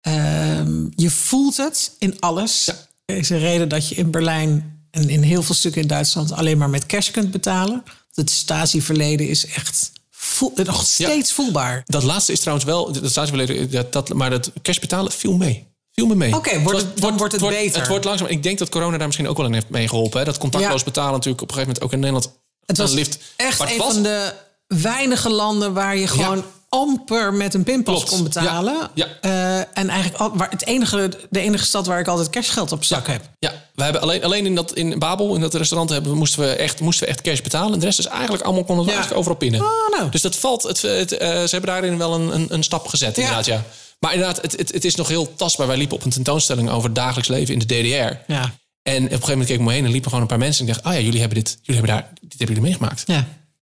Ehm, je voelt het in alles. Ja. Er is een reden dat je in Berlijn en in heel veel stukken in Duitsland alleen maar met cash kunt betalen. Het Stasi-verleden is echt voel, nog steeds voelbaar. Dat laatste is trouwens wel, dat staat verleden, dat, dat, maar dat cash betalen viel mee. Viel me mee. Oké, wordt het- dan wordt het beter. Het wordt langzaam. Ik denk dat corona daar misschien ook wel in heeft meegeholpen. hè. Dat contactloos Ja. betalen natuurlijk op een gegeven moment ook in Nederland Het was Een lift. echt Maar het een was- van de weinige landen waar je gewoon Ja. amper met een pinpas Klopt. kon betalen. Ja. Eh, en eigenlijk al, waar het enige, de enige stad waar ik altijd cashgeld op zak heb. Ja, we hebben alleen, alleen in, dat, in Babel, in dat restaurant, hebben, moesten, we echt, moesten we echt cash betalen. En de rest is eigenlijk allemaal konden we Ja. eigenlijk overal pinnen. Ah, nou. Dus dat valt. Het, het, eh, ze hebben daarin wel een, een, een stap gezet, Ja. inderdaad. Ja. Maar inderdaad, het, het, het is nog heel tastbaar. Wij liepen op een tentoonstelling over het dagelijks leven in de DDR. Ja. En op een gegeven moment keek ik om me heen en liepen gewoon een paar mensen. En ik dacht, ah ja, jullie hebben dit, jullie hebben daar, dit hebben jullie meegemaakt. Ja.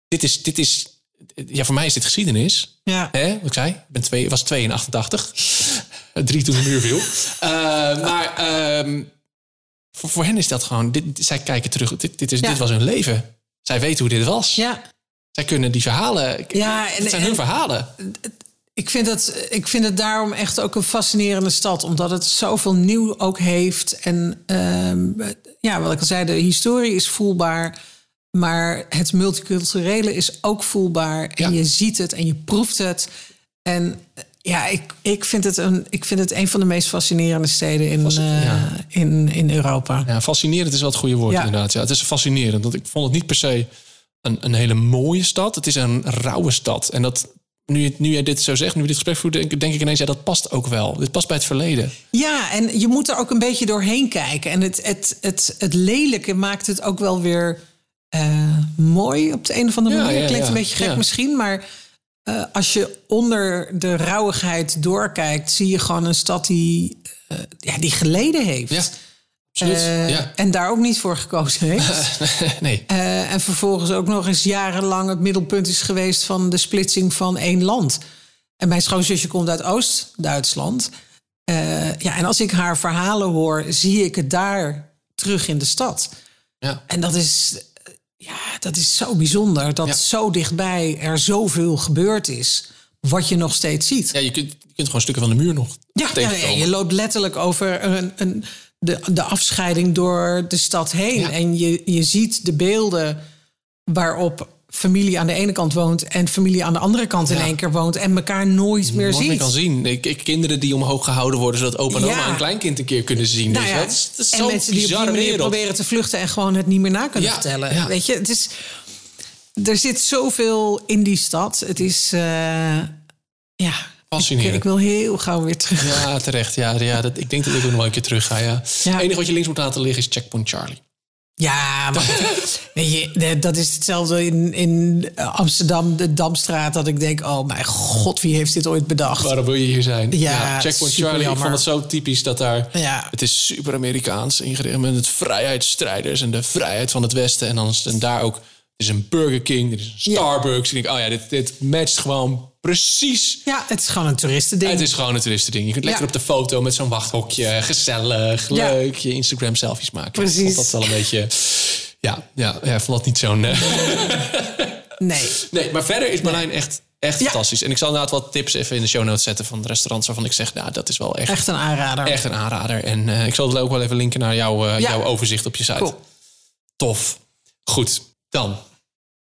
Dit is, dit is, ja, voor mij is dit geschiedenis. Ja. Hè, wat ik zei, ik ben twee, was 2 in 88. Eh, [LAUGHS] Drie toen de muur viel. Eh, maar ehm, voor, voor hen is dat gewoon... Dit, zij kijken terug. Dit, dit, is, Ja. dit was hun leven. Zij weten hoe dit was. ja. Zij kunnen die verhalen... Ja, en- het zijn hun en- verhalen. Ik vind, het, ik vind het daarom echt ook een fascinerende stad. Omdat het zoveel nieuw ook heeft. En ehm, ja, wat ik al zei, de historie is voelbaar. Maar het multiculturele is ook voelbaar. En Ja. je ziet het en je proeft het. En eh, ja, ik, ik, vind het een, ik vind het een van de meest fascinerende steden in, eh, ja. in, in Europa. Ja, fascinerend is wel het goede woord Ja. inderdaad. Ja, het is fascinerend. Want ik vond het niet per se een, een hele mooie stad. Het is een rauwe stad. En dat... Nu, je- nu jij dit zo zegt, nu we dit gesprek voeren, denk, denk ik ineens, ja, dat past ook wel. Dit past bij het verleden. Ja, en je moet er ook een beetje doorheen kijken. En het, het, het, het lelijke maakt het ook wel weer eh, mooi op de een of andere Ja, manier. ja, Klinkt ja. een beetje gek Ja. misschien, maar eh, als je onder de rauwigheid doorkijkt, zie je gewoon een stad die, eh, ja, die geleden heeft. Ja, absoluut. Eh, ja. [LAUGHS] En daar ook niet voor gekozen heeft. nee. Eh, en vervolgens ook nog eens jarenlang het middelpunt is geweest van de splitsing van één land. En mijn schoonzusje komt uit Oost-Duitsland. Eh, ja, en als ik haar verhalen hoor, zie ik het daar terug in de stad. Ja. En dat is, eh, ja, dat is zo bijzonder dat Ja. zo dichtbij er zoveel gebeurd is. Wat je nog steeds ziet. Ja, je kunt, je kunt gewoon stukken van de muur nog Ja, ja, tegenkomen. je loopt letterlijk over een, een, de, de afscheiding door de stad heen. Ja. En je, je ziet de beelden waarop familie aan de ene kant woont... en familie aan de andere kant in Ja. één keer woont... en elkaar nooit meer Wat ziet. men kan zien. Ik, ik, kinderen die omhoog gehouden worden... zodat opa en Ja. oma een kleinkind een keer kunnen zien. weet Nou je ja, wel? Het is, het is en zo'n mensen die op die bizarre manier wereld. proberen te vluchten... en gewoon het niet meer na kunnen Ja, vertellen. ja. Weet je, het is... Er zit zoveel in die stad. Het is... eh, ja, ik, Fascinerend. ik wil heel gauw weer terug. Ja, terecht. Ja, ja, dat, ik denk dat ik ook nog wel een keer terug ga. Ja. Ja. Het enige wat je links moet laten liggen is Checkpoint Charlie. Ja, maar [LAUGHS] weet je, de- dat is hetzelfde in, in eh, Amsterdam, de Damstraat. Dat ik denk, oh mijn god, wie heeft dit ooit bedacht? Waarom wil je hier zijn? Ja, Checkpoint super Charlie. Ik jammer. vond het zo typisch dat daar... Ja. Het is super Amerikaans ingericht met het vrijheidsstrijders... en de vrijheid van het Westen. En, dan, is- en daar ook... Er is een Burger King, er is een Ja. Starbucks. Ik denk, oh ja, dit, dit matcht gewoon precies... Ja, het is gewoon een Ja, toeristending. Het is gewoon een toeristending. Je kunt lekker Ja. op de foto met zo'n wachthokje. Gezellig, Ja. leuk. Je Instagram selfies maken. Precies. Ik vond dat wel een beetje... Ja, ja, ja ik vond dat niet zo'n... [LAUGHS] eh, Nee. nee, maar verder is Berlijn echt, echt Ja. fantastisch. En ik zal inderdaad wat tips even in de show notes zetten... van de restaurants waarvan ik zeg... Nou, dat is wel echt, echt. Echt een aanrader. een aanrader. En eh, ik zal het ook wel even linken naar jouw, eh, Ja. jouw overzicht op je site. Cool. Tof. Goed, dan.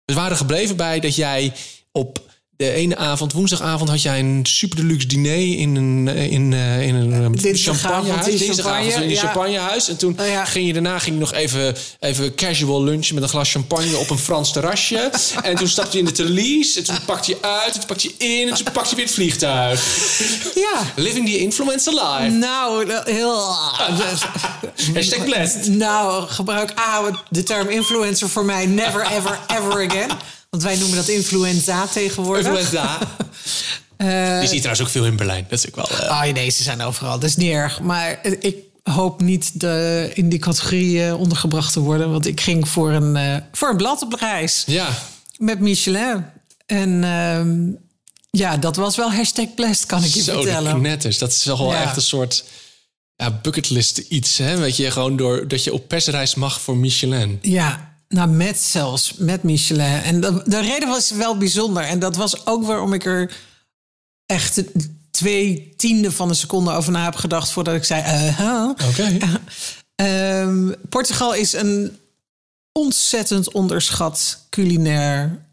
We waren gebleven bij dat jij op de ene avond, woensdagavond, had jij een super deluxe diner in een, eh, in, eh, in een eh, Dinsdagavond champagnehuis. in Dinsdagavond in een champagne, ja. champagnehuis. En toen Oh ja. ging je daarna ging je nog even, even casual lunchen met een glas champagne op een Frans [LAUGHS] terrasje. en toen stapte je in de Thalys. En toen pakte je uit, en toen pakte je in, en toen pakte je weer het vliegtuig. Ja. Living the influencer life. Nou, dat- heel... [LAUGHS] Hashtag blessed. Nou, gebruik A, de term influencer voor mij never, ever, ever again. Want wij noemen dat influenza tegenwoordig. [LAUGHS] Influenza. Die zie je trouwens ook veel in Berlijn. Dat is ook wel... eh, Ah, nee, ze zijn overal. Dat is niet erg. Maar eh, ik hoop niet de, in die categorie eh, ondergebracht te worden. Want ik ging voor een, eh, voor een blad op reis ja, met Michelin. En ehm, ja, dat was wel hashtag blessed, kan ik je Zo, de vertellen. knetters. Dat is toch wel Ja. echt een soort ja, bucketlist iets. Hè? Weet je, gewoon door, dat je op persreis mag voor Michelin. Ja, nou met zelfs, met Michelin. En dat, de reden was wel bijzonder. En dat was ook waarom ik er echt twee tienden van een seconde over na heb gedacht... voordat ik zei, eh, huh? Oké. Ehm, Portugal is een ontzettend onderschat culinair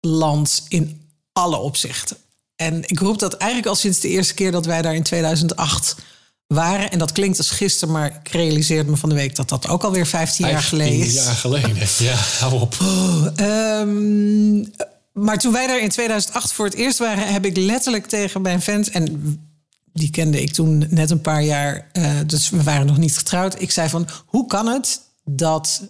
land in alle opzichten. En ik roep dat eigenlijk al sinds de eerste keer dat wij daar in 2008 waren. En dat klinkt als gisteren, maar ik realiseerde me van de week dat dat ook alweer 15 jaar 15 geleden is. jaar geleden. [LAUGHS] Ja, hou op. Ehm, maar toen wij daar in 2008 voor het eerst waren, heb ik letterlijk tegen mijn fans. En die kende ik toen net een paar jaar, eh, dus we waren nog niet getrouwd. Ik zei van, hoe kan het dat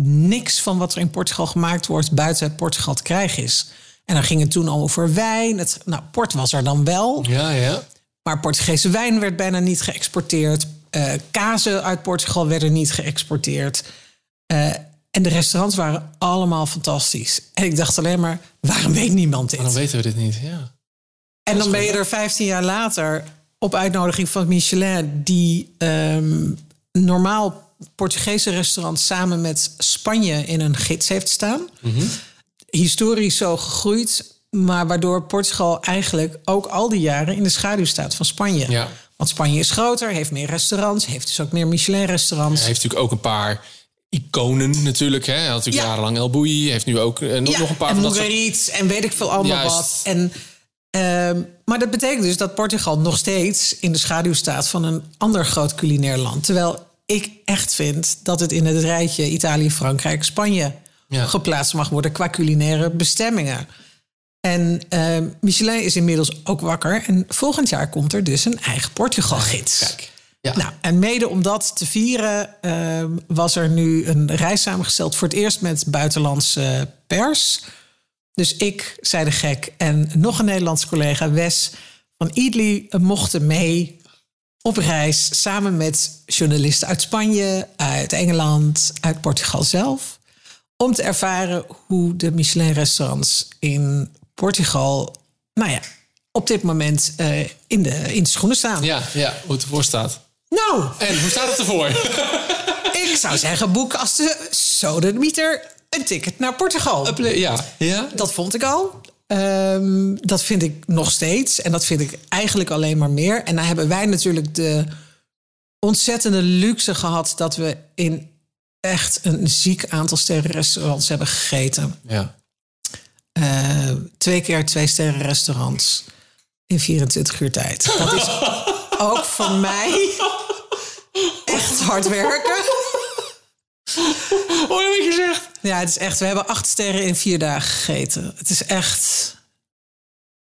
niks van wat er in Portugal gemaakt wordt buiten Portugal te krijgen is? En dan ging het toen al over wijn. Het, nou, port was er dan wel. Ja, ja. Maar Portugese wijn werd bijna niet geëxporteerd. Eh, kazen uit Portugal werden niet geëxporteerd. Eh, en de restaurants waren allemaal fantastisch. En ik dacht alleen maar, waarom weet niemand dit? Dan weten we dit niet. Ja. en dan ben je er 15 jaar later op uitnodiging van Michelin... die ehm, normaal Portugese restaurants samen met Spanje in een gids heeft staan. Historisch zo gegroeid, maar waardoor Portugal eigenlijk ook al die jaren... in de schaduw staat van Spanje. Ja. Want Spanje is groter, heeft meer restaurants... heeft dus ook meer Michelin-restaurants. Hij heeft natuurlijk ook een paar iconen natuurlijk. Hè. Hij had natuurlijk Ja. jarenlang El Bouy. Hij heeft nu ook eh, nog, nog een paar en van dat soort... Moerietz en weet ik veel allemaal Juist. wat. En, ehm, maar dat betekent dus dat Portugal nog steeds in de schaduw staat van een ander groot culinair land. Terwijl ik echt vind dat het in het rijtje Italië, Frankrijk, Spanje Ja. geplaatst mag worden qua culinaire bestemmingen. En ehm, Michelin is inmiddels ook wakker. En volgend jaar komt er dus een eigen Portugal-gids. Kijk. Ja. Nou, en mede om dat te vieren ehm, was er nu een reis samengesteld. Voor het eerst met buitenlandse pers. Dus ik, zei de gek, en nog een Nederlandse collega, Wes van Idli, mochten mee op reis samen met journalisten uit Spanje, uit Engeland, uit Portugal zelf. Om te ervaren hoe de Michelin-restaurants in Portugal, nou ja, op dit moment eh, in, de, in de schoenen staan. ja, ja, hoe het ervoor staat. Nou, En hoe staat het ervoor? ik zou zeggen, boek als de sodemieter een ticket naar Portugal. [LAUGHS] ja. ja. Dat vond ik al. Ehm, dat vind ik nog steeds. En dat vind ik eigenlijk alleen maar meer. En dan hebben wij natuurlijk de ontzettende luxe gehad... dat we in echt een ziek aantal sterrenrestaurants hebben gegeten. Ja. Eh, twee keer twee sterren restaurants in 24 uur tijd. Dat is ook voor mij echt hard werken. Oh, heb ik gezegd. Ja, het is echt. We hebben acht sterren in vier dagen gegeten. Het is echt.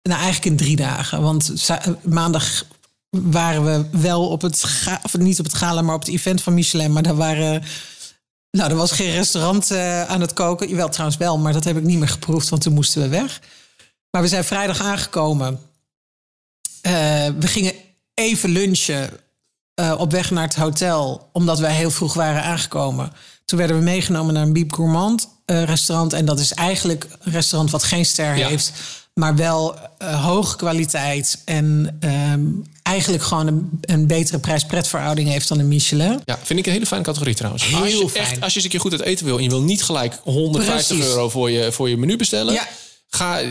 Nou, eigenlijk in drie dagen. Want za- maandag waren we wel op het. ga- Of niet op het gala, maar op het event van Michelin. Maar daar waren. Nou, er was geen restaurant eh, aan het koken. Jawel, trouwens wel, maar dat heb ik niet meer geproefd, want toen moesten we weg. Maar we zijn vrijdag aangekomen. Eh, we gingen even lunchen eh, op weg naar het hotel, omdat wij heel vroeg waren aangekomen. Toen werden we meegenomen naar een Biep Gourmand eh, restaurant. En dat is eigenlijk een restaurant wat geen ster Ja. heeft, maar wel eh, hoge kwaliteit. En ehm, eigenlijk gewoon een, een betere prijs-pretverhouding heeft dan een Michelin. Ja, vind ik een hele fijne categorie trouwens. Heel als, je fijn. Echt, als je eens een keer goed uit eten wil en je wil niet gelijk 150 Precies. euro voor je, voor je menu bestellen... Ja. ga eh, zoek,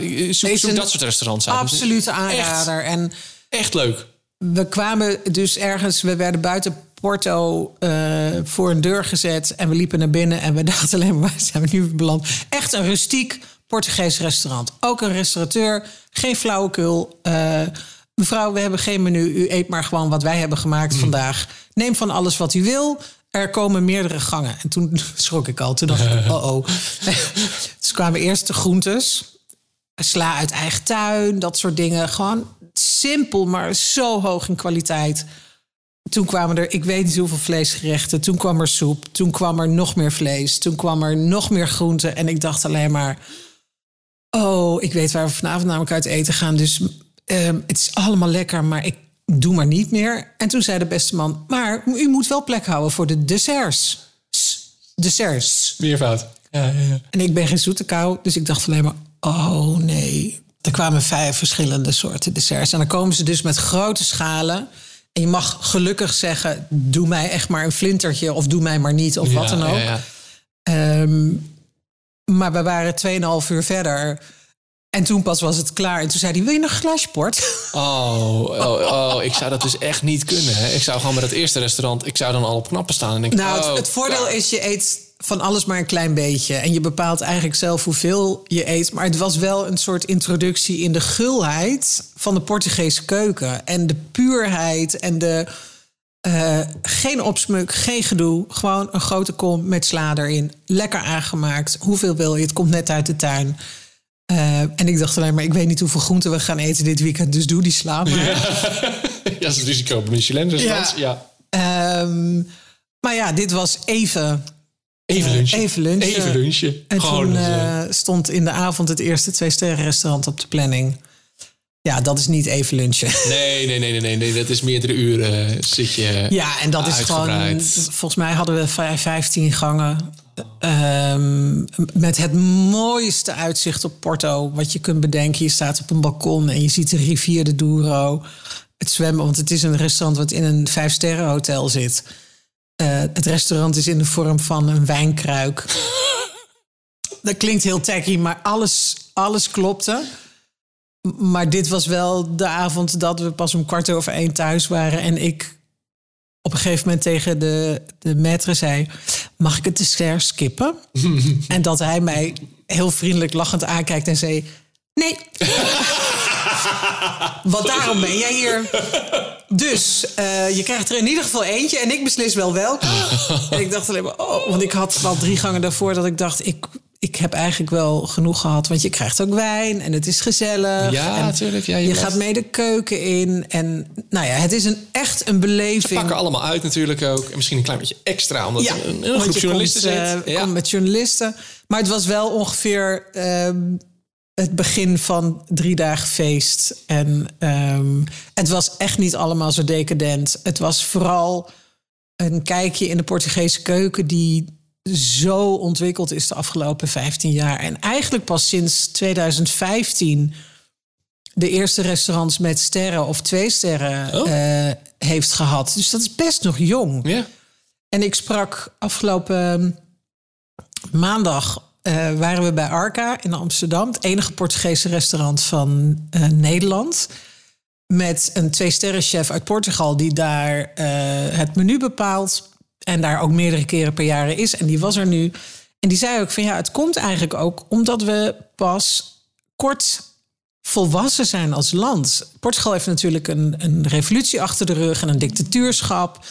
Deze zoek een dat soort restaurants uit. Absolute aanrader. En Echt leuk. we kwamen dus ergens, we werden buiten Porto eh, voor een deur gezet. En we liepen naar binnen en we [LAUGHS] dachten alleen maar, waar zijn we nu beland? Echt een rustiek Portugees restaurant. Ook een restaurateur, geen flauwekul. Eh, mevrouw, we hebben geen menu. U eet maar gewoon wat wij hebben Hmm. gemaakt vandaag. Neem van alles wat u wil. Er komen meerdere gangen. En toen [LAUGHS] schrok ik al. [LAUGHS] Toen dacht ik, oh [LAUGHS] oh. dus kwamen eerst de groentes sla uit eigen tuin, dat soort dingen. Gewoon simpel, maar zo hoog in kwaliteit. Toen kwamen er, ik weet niet hoeveel vleesgerechten. Toen kwam er soep. Toen kwam er nog meer vlees. Toen kwam er nog meer groenten. En ik dacht alleen maar. Oh, ik weet waar we vanavond namelijk uit eten gaan. Dus ehm, het is allemaal lekker, maar ik doe maar niet meer. En toen zei de beste man. Maar u moet wel plek houden voor de desserts. S- Desserts. Meervoud. Ja, ja, ja. En ik ben geen zoete kou, dus ik dacht alleen maar, oh nee. Er kwamen vijf verschillende soorten desserts. En dan komen ze dus met grote schalen. En je mag gelukkig zeggen, doe mij echt maar een flintertje... of doe mij maar niet, of wat Ja, dan ook. ja, ja. Ehm, maar we waren 2,5 uur verder. En toen pas was het klaar. En toen zei hij, wil je nog een glaasje port? Oh, oh, oh, ik zou dat dus echt niet kunnen. Hè. Ik zou gewoon bij dat eerste restaurant, ik zou dan al op knappen staan en denken. Nou, het, oh, het voordeel is, je eet van alles maar een klein beetje. En je bepaalt eigenlijk zelf hoeveel je eet. Maar het was wel een soort introductie in de gulheid van de Portugese keuken. En de puurheid en de Eh, geen opsmuk, geen gedoe. Gewoon een grote kom met sla erin. Lekker aangemaakt. Hoeveel wil je? Het komt net uit de tuin. Eh, en ik dacht alleen maar, ik weet niet hoeveel groenten we gaan eten dit weekend. Dus doe die sla maar. Ja, dat is het risico op Michelin-restaurants. Ja. Ja. Ehm, maar ja, dit was even. Even lunchen. Even lunchen. Even lunchen. En Gewoon, toen dat, eh, eh, stond in de avond het eerste twee sterren restaurant op de planning. Ja, dat is niet even lunchen. Nee, nee, nee, nee, nee, nee. Dat is meerdere uren eh, zit je. Ja, en dat is gewoon. Uitgebreid. Volgens mij hadden we vij- 15 gangen. Ehm, met het mooiste uitzicht op Porto. Wat je kunt bedenken. Je staat op een balkon en je ziet de rivier de Douro. Het zwemmen, want het is een restaurant wat in een vijfsterrenhotel zit. Eh, het restaurant is in de vorm van een wijnkruik. [LAUGHS] dat klinkt heel tacky, maar alles, alles klopte. M- Maar dit was wel de avond dat we pas om kwart over één thuis waren. En ik op een gegeven moment tegen de, de maître zei... mag ik het [LAUGHS] dessert skippen? en dat hij mij heel vriendelijk lachend aankijkt en zei... [LAUGHS] nee. Want daarom ben jij hier. Dus eh, je krijgt er in ieder geval eentje en ik beslis wel welke. en ik dacht alleen maar, oh, want ik had al drie gangen daarvoor dat ik dacht, ik, ik heb eigenlijk wel genoeg gehad. Want je krijgt ook wijn en het is gezellig. Ja, en tuurlijk, ja, je je bent- gaat mee de keuken in. En nou ja, het is een, echt een beleving. Pakken allemaal uit natuurlijk ook. En misschien een klein beetje extra, omdat Ja, er een, een want groep je journalisten komt, eh, zit. Ja. komt met journalisten. Maar het was wel ongeveer ehm, het begin van drie dagen feest. En ehm, het was echt niet allemaal zo decadent. Het was vooral een kijkje in de Portugese keuken die zo ontwikkeld is de afgelopen 15 jaar. En eigenlijk pas sinds 2015 de eerste restaurants met sterren of twee sterren Oh. eh, heeft gehad. Dus dat is best nog jong. ja. En ik sprak afgelopen maandag. eh, waren we bij Arca in Amsterdam, het enige Portugese restaurant van eh, Nederland. Met een twee-sterrenchef uit Portugal die daar eh, het menu bepaalt. En daar ook meerdere keren per jaar is. En die was er nu. En die zei ook van ja, het komt eigenlijk ook omdat we pas kort volwassen zijn als land. Portugal heeft natuurlijk een, een revolutie achter de rug en een dictatuurschap.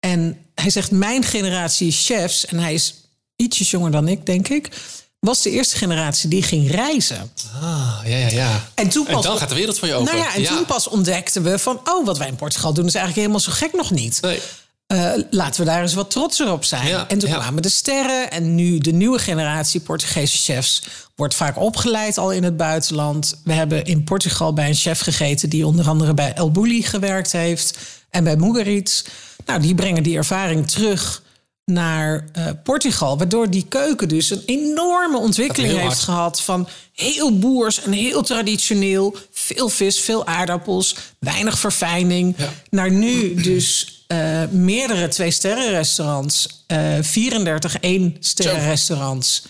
En hij zegt, mijn generatie chefs, en hij is ietsjes jonger dan ik, denk ik, was de eerste generatie die ging reizen. Ah, ja, ja, ja. En toen En pas- dan gaat de wereld voor je open. Nou ja, en toen pas ontdekten we van, oh, wat wij in Portugal doen is eigenlijk helemaal zo gek nog niet. Nee. Eh, laten we daar eens wat trotser op zijn. Ja, en toen ja. kwamen de sterren. En nu de nieuwe generatie Portugese chefs wordt vaak opgeleid al in het buitenland. We hebben in Portugal bij een chef gegeten die onder andere bij El Bulli gewerkt heeft en bij Mugaritz. Nou, die brengen die ervaring terug naar eh, Portugal, waardoor die keuken dus een enorme ontwikkeling heel heeft hard. gehad van heel boers en heel traditioneel, veel vis, veel aardappels, weinig verfijning Ja. naar nu dus eh, meerdere twee-sterren restaurants. eh 34 één-sterren Zo. restaurants.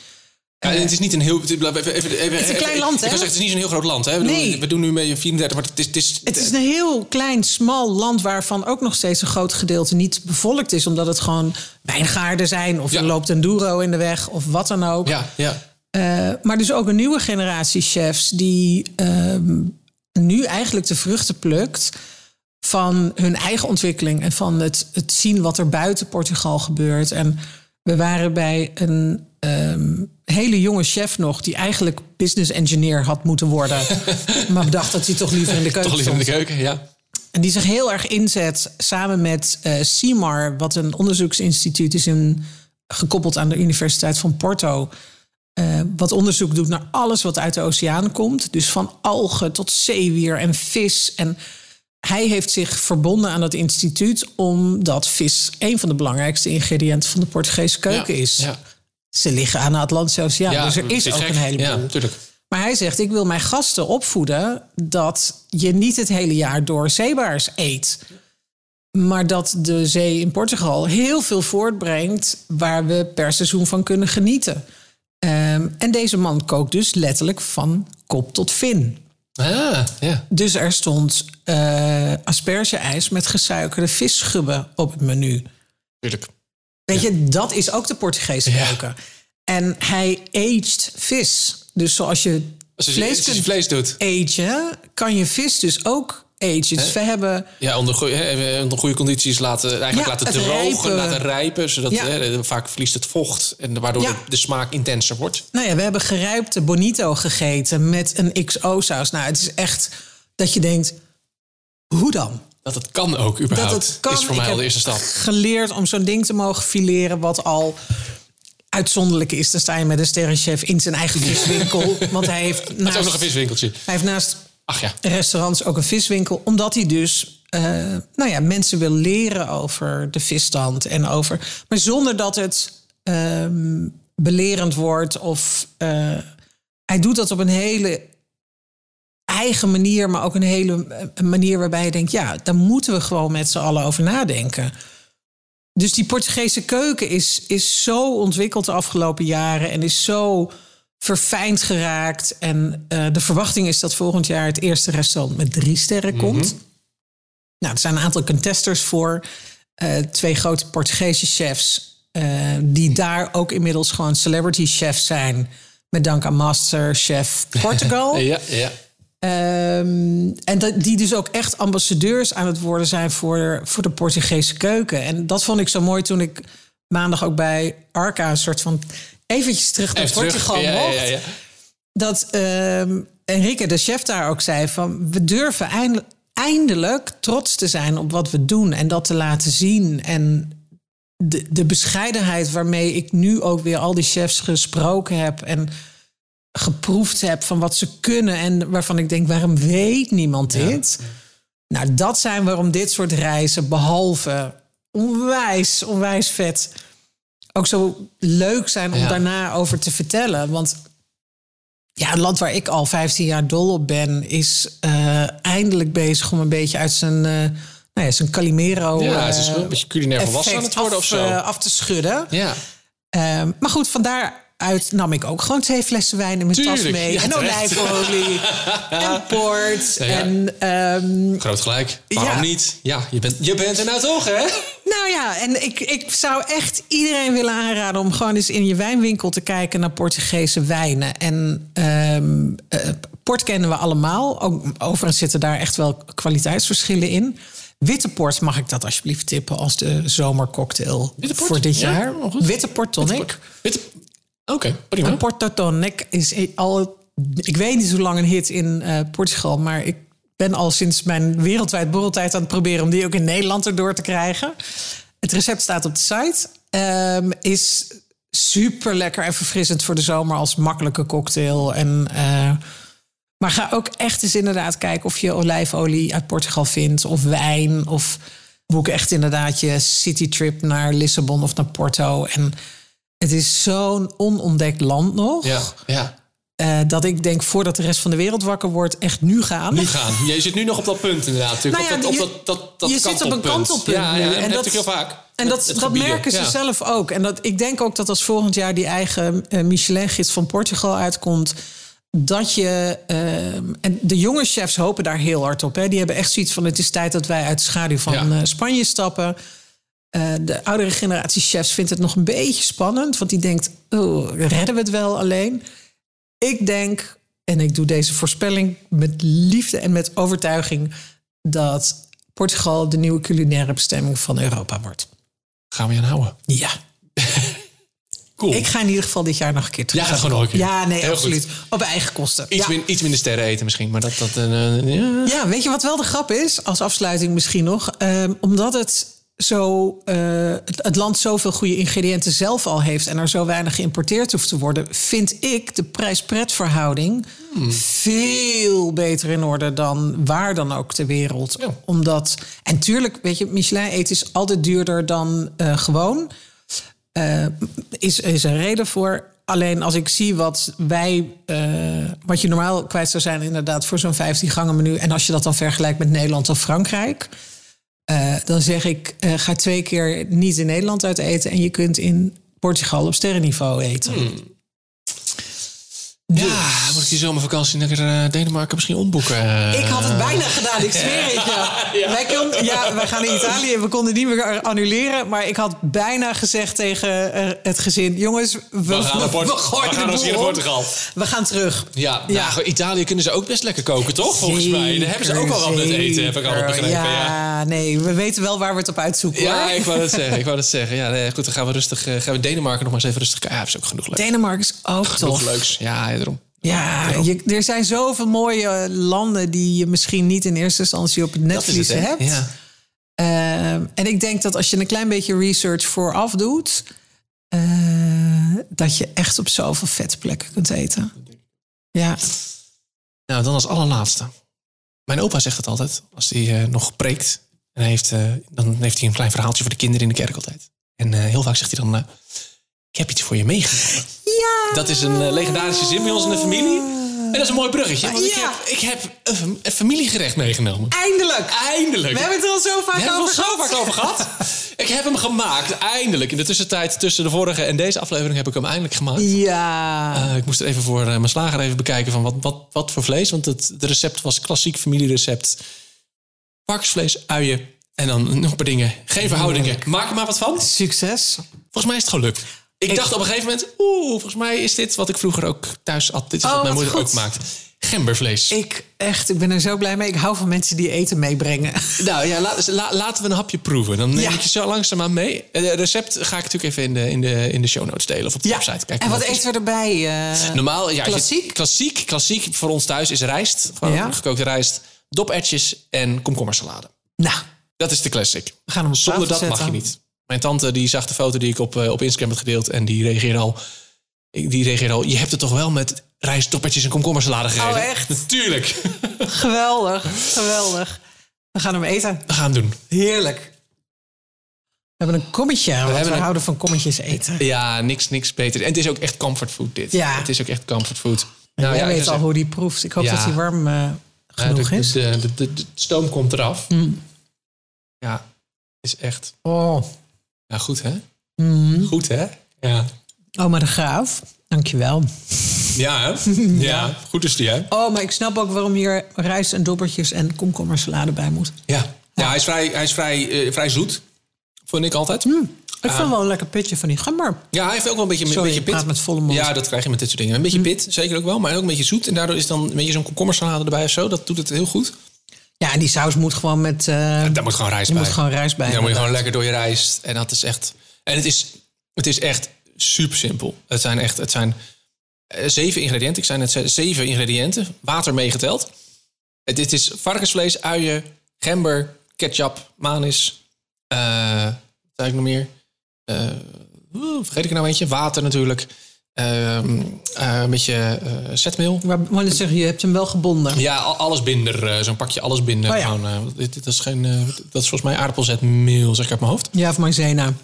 Ja, en het is niet een heel... Even, even, even, even, het Eh, een klein land, hè? het is niet zo'n heel groot land, hè? We, Nee. doen, we doen nu mee 34, maar het is... Het is, Het is een heel klein, smal land waarvan ook nog steeds een groot gedeelte niet bevolkt is. Omdat het gewoon wijngaarden zijn of Ja. er loopt een Douro in de weg of wat dan ook. Ja, ja. Eh, maar dus ook een nieuwe generatie chefs die ehm, nu eigenlijk de vruchten plukt van hun eigen ontwikkeling en van het, het zien wat er buiten Portugal gebeurt. En we waren bij een ehm, hele jonge chef nog die eigenlijk business engineer had moeten worden, [LAUGHS] maar bedacht dat hij toch liever in de keuken Toch stond. liever in de keuken, ja. En die zich heel erg inzet samen met eh CIMAR, wat een onderzoeksinstituut is in, gekoppeld aan de Universiteit van Porto. eh, wat onderzoek doet naar alles wat uit de oceaan komt. Dus van algen tot zeewier en vis. En hij heeft zich verbonden aan dat instituut omdat vis een van de belangrijkste ingrediënten van de Portugese keuken ja. is. Ja, Ze liggen aan de Atlantische Oceaan, ja dus er is het ook gek. een heleboel. Ja, natuurlijk. Maar hij zegt: Ik wil mijn gasten opvoeden dat je niet het hele jaar door zeebaars eet. Maar dat de zee in Portugal heel veel voortbrengt waar we per seizoen van kunnen genieten. Ehm, en deze man kookt dus letterlijk van kop tot vin. Ah, ja. Dus er stond eh aspergeijs met gesuikerde visschubben op het menu. Tuurlijk. Weet je, dat is ook de Portugese Ja. keuken. En hij aged vis. Dus zoals je Als je, vlees als je kunt vlees doet. age, hè, kan je vis dus ook aged hebben. Ja, onder, goe- hè, even onder goede condities laten, eigenlijk Ja, laten het drogen, rijpen. laten rijpen. Zodat Ja. hè, vaak verliest het vocht. En waardoor Ja. de, de smaak intenser wordt. Nou ja, we hebben gerijpte bonito gegeten met een XO-saus. Nou, het is echt dat je denkt, hoe dan? Dat het kan ook überhaupt. Dat het kan. Is voor Ik mij al de heb [LAUGHS] eerste stap. geleerd om zo'n ding te mogen fileren wat al uitzonderlijk is. Dan sta je met een sterrenchef in zijn [LAUGHS] eigen viswinkel. want hij heeft, Het is ook nog naast, een viswinkeltje. hij heeft naast Ach ja. restaurants ook een viswinkel. Omdat hij dus eh, nou ja, mensen wil leren over de visstand en over. Maar zonder dat het ehm, belerend wordt. Of eh, hij doet dat op een hele eigen manier, maar ook een hele eh, een manier waarbij je denkt: ja, daar moeten we gewoon met z'n allen over nadenken. Dus die Portugese keuken is, is zo ontwikkeld de afgelopen jaren en is zo verfijnd geraakt. En eh, de verwachting is dat volgend jaar het eerste restaurant met drie sterren komt. Nou, er zijn een aantal contesters voor. Eh, twee grote Portugese chefs, eh, die daar ook inmiddels gewoon celebrity chefs zijn. Met dank aan Masterchef [LAUGHS] Portugal. Ja, ja. Ehm, en dat, die dus ook echt ambassadeurs aan het worden zijn voor, voor de Portugese keuken. En dat vond ik zo mooi toen ik maandag ook bij Arca een soort van eventjes terug naar Even terug. Portugal Ja, ja, mocht. ja, ja. Dat ehm Enrique, de chef daar ook zei van we durven eind- eindelijk trots te zijn op wat we doen en dat te laten zien. En de, de bescheidenheid waarmee ik nu ook weer al die chefs gesproken heb en geproefd heb van wat ze kunnen en waarvan ik denk, waarom weet niemand dit? Nou, dat zijn waarom dit soort reizen, behalve onwijs, onwijs vet, ook zo leuk zijn om Ja. daarna over te vertellen. Want ja, het land waar ik al 15 jaar dol op ben, is eh, eindelijk bezig om een beetje uit zijn, eh nou ja, zijn Calimero. Ja, het eh, is wel een beetje culinair volwassen aan effect het worden af, of zo. eh, af te schudden. ja. Ehm, maar goed, van daaruit nam ik ook gewoon twee flessen wijn in mijn tas Tuurlijk, mee. ja, en terecht. [LAUGHS] olijfolie. en port. ja. En, ehm, Groot gelijk. Waarom Ja. niet? Ja, je bent, je bent er nou toch, hè? nou ja, en ik, ik zou echt iedereen willen aanraden om gewoon eens in je wijnwinkel te kijken naar Portugese wijnen. En ehm, eh, port kennen we allemaal. Ook, overigens zitten daar echt wel kwaliteitsverschillen in. Witte port mag ik dat alsjeblieft tippen als de zomercocktail Witte port? voor dit Ja, jaar. oh, goed. Witte port tonic. Witte- Oké, prima. Een Porto Tonic is e- al, ik weet niet hoe lang een hit in eh, Portugal, maar ik ben al sinds mijn wereldwijd borreltijd aan het proberen om die ook in Nederland erdoor te krijgen. Het recept staat op de site. Ehm, is super lekker en verfrissend voor de zomer als makkelijke cocktail. En, eh, maar ga ook echt eens inderdaad kijken of je olijfolie uit Portugal vindt of wijn of boek echt inderdaad je citytrip naar Lissabon of naar Porto. En het is zo'n onontdekt land nog. Ja, ja. eh, dat ik denk, voordat de rest van de wereld wakker wordt, echt nu gaan. Nu gaan. Jij zit nu nog op dat punt inderdaad. Natuurlijk. Nou ja, op dat, je- op dat, dat, dat je zit op een kantelpunt Ja, nu. ja, En en, dat dat- heb ik heel vaak. En dat, Het dat gebieden, merken ze ja. zelf ook. En dat, ik denk ook dat als volgend jaar die eigen eh, Michelin-gids van Portugal uitkomt... dat je... ehm, en de jonge chefs hopen daar heel hard op. Hè. Die hebben echt zoiets van... het is tijd dat wij uit de schaduw van Ja. eh, Spanje stappen. Eh, de oudere generatie chefs vindt het nog een beetje spannend. Want die denkt, oh, redden we het wel alleen? Ik denk, en ik doe deze voorspelling met liefde en met overtuiging... dat Portugal de nieuwe culinaire bestemming van Europa wordt. Gaan we je aan houden. Ja. Cool. Ik ga in ieder geval dit jaar nog een keer terug. Ja, gewoon nog een keer. Ja, nee, Heel absoluut. goed. Op eigen kosten. Iets, Ja. min- iets minder sterren eten misschien, maar dat... dat eh, eh, ja. ja, weet je wat wel de grap is? Als afsluiting misschien nog. Ehm, omdat het, zo, eh, het, het land zoveel goede ingrediënten zelf al heeft... en er zo weinig geïmporteerd hoeft te worden... vind ik de prijs-pret-verhouding veel beter in orde... dan waar dan ook ter wereld. Ja. Omdat, en tuurlijk, weet je, Michelin-eten is altijd duurder dan eh, gewoon... Eh, is, is een reden voor. Alleen als ik zie wat wij, eh, wat je normaal kwijt zou zijn, inderdaad, voor zo'n 15 gangen menu. En als je dat dan vergelijkt met Nederland of Frankrijk. eh, dan zeg ik, eh, ga twee keer niet in Nederland Hmm. uit eten. En je kunt in Portugal op sterrenniveau eten. Ja, moet ik die zomervakantie naar eh, Denemarken misschien omboeken? eh? Ik had het bijna gedaan, ik zweer het je. [LAUGHS] Ja. Wij, kon, ja, wij gaan naar Italië en we konden niet meer annuleren. Maar ik had bijna gezegd tegen eh, het gezin... jongens, we, We gaan naar Port- we gooien we gaan de boel ons hier naar om. Portugal. We gaan terug. Ja, nou, Ja. goed, Italië kunnen ze ook best lekker koken, toch? Volgens mij. Daar hebben ze ook al wat met eten, heb ik al Zeker, begrepen. Ja. Ja, nee, we weten wel waar we het op uitzoeken. Ja, hoor. ik wou dat zeggen. Ik wou dat zeggen. Ja, nee, goed, dan gaan we rustig. eh, gaan we Denemarken nog maar eens even rustig. Ja, hebben ze ook genoeg leuk. Denemarken is ook Genoeg tof. leuks. Ja, ja, daarom. Ja, je- er zijn zoveel mooie landen die je misschien niet in eerste instantie op het Dat is netvlies het, hè? hebt. Ja. Ehm, en ik denk dat als je een klein beetje research vooraf doet, eh, dat je echt op zoveel vette plekken kunt eten. Ja, Nou, dan als allerlaatste. Mijn opa zegt het altijd, als hij eh, nog preekt. En hij heeft, eh, dan heeft hij een klein verhaaltje voor de kinderen in de kerk altijd. En eh, heel vaak zegt hij dan, eh, ik heb iets voor je meegenomen. ja. Dat is een eh, legendarische zin bij ons in de familie. En dat is een mooi bruggetje, want ik Ja. heb, ik heb een, fam- een familiegerecht meegenomen. eindelijk. Eindelijk! We hebben het er al zo vaak We hebben over het al zo gehad. vaak over gehad. Ik heb hem gemaakt, eindelijk. In de tussentijd tussen de vorige en deze aflevering heb ik hem eindelijk gemaakt. Ja. Eh, ik moest er even voor eh, mijn slager even bekijken van wat, wat, wat voor vlees. Want het de recept was klassiek familierecept. Varkensvlees, uien en dan nog een paar dingen. Geen verhoudingen. Maak er maar wat van. Succes. Volgens mij is het gelukt. Ik, dacht op een gegeven moment, oeh, volgens mij is dit wat ik vroeger ook thuis had. Dit is Oh, wat mijn wat moeder goed. ook maakt. Gembervlees. Ik echt, ik ben er zo blij mee. Ik hou van mensen die eten meebrengen. [LAUGHS] Nou ja, la- la- laten we een hapje proeven. Dan neem Ja. ik je zo langzaamaan mee. Het recept ga ik natuurlijk even in de, in de, in de show notes delen. Of op de website. Kijk Nou, en maar wat of- eten we erbij? eh? Normaal, ja, als je- Klassiek? klassiek, klassiek voor ons thuis is rijst. Gewoon Ja. gekookte rijst, dopertjes en komkommersalade. nou, Dat is de classic. we gaan hem op Zonder dat tafel mag je zetten. niet. Mijn tante die zag de foto die ik op, eh, op Instagram had gedeeld en die reageerde al... ik- Die reageerde al, je hebt het toch wel met rijst, dopertjes en komkommersalade gegeten? Oh, echt? Natuurlijk. Geweldig, geweldig. We gaan hem eten. We gaan het doen. Heerlijk. We hebben een kommetje, want we, hebben een- houden van kommetjes eten. Ja, niks, niks beter. En het is ook echt comfort food dit. Ja. Het is ook echt comfort food. Nou, ik Jij weet zou al zeggen, hoe die proeft. Ik hoop Ja. dat die warm eh, genoeg ja, eh, de- is. De, Hmm. de, de- de stoom komt eraf. Ja, is echt... Oh, Ja, goed hè? Goed hè? Ja. Oma de Graaf, dankjewel. Ja, hè? Ja. goed is die hè? Oh, maar ik snap ook waarom hier rijst en dobbertjes en komkommersalade bij moet. Ja, ja hij is, vrij, hij is vrij, eh, vrij zoet. Vond ik altijd. Mhm. Hm, Ah. Ik vond wel een lekker pitje van die gember. Ja, hij heeft ook wel een beetje, een Sorry, beetje ik pit. praat met volle mond. Ja, dat krijg je met dit soort dingen. Een beetje pit, zeker ook wel. Maar ook een beetje zoet. En daardoor is dan een beetje zo'n komkommersalade erbij of zo. Dat doet het heel goed. Ja, en die saus moet gewoon met... eh, Daar moet gewoon rijst er bij. moet gewoon rijst bij. Daar moet je gewoon lekker door je rijst. En dat is echt. En het is, het is echt super simpel. Het zijn echt. Het zijn eh, zeven ingrediënten. Ik zei net ze- zeven ingrediënten. Water meegeteld. Het, dit is varkensvlees, uien, gember, ketchup, manis. eh wat zei ik nog meer? Eh, oeh, vergeet ik er nou eentje? Water natuurlijk. Ehm, eh, een beetje eh zetmeel. Maar maar dan zeg je, je hebt hem wel gebonden. Ja, al- allesbinder. eh, Zo'n pakje allesbinder. Oh ja. gewoon, eh, dit, dit is geen, eh, dat is volgens mij aardappelzetmeel, zeg ik uit mijn hoofd. Ja, of Maizena. Ik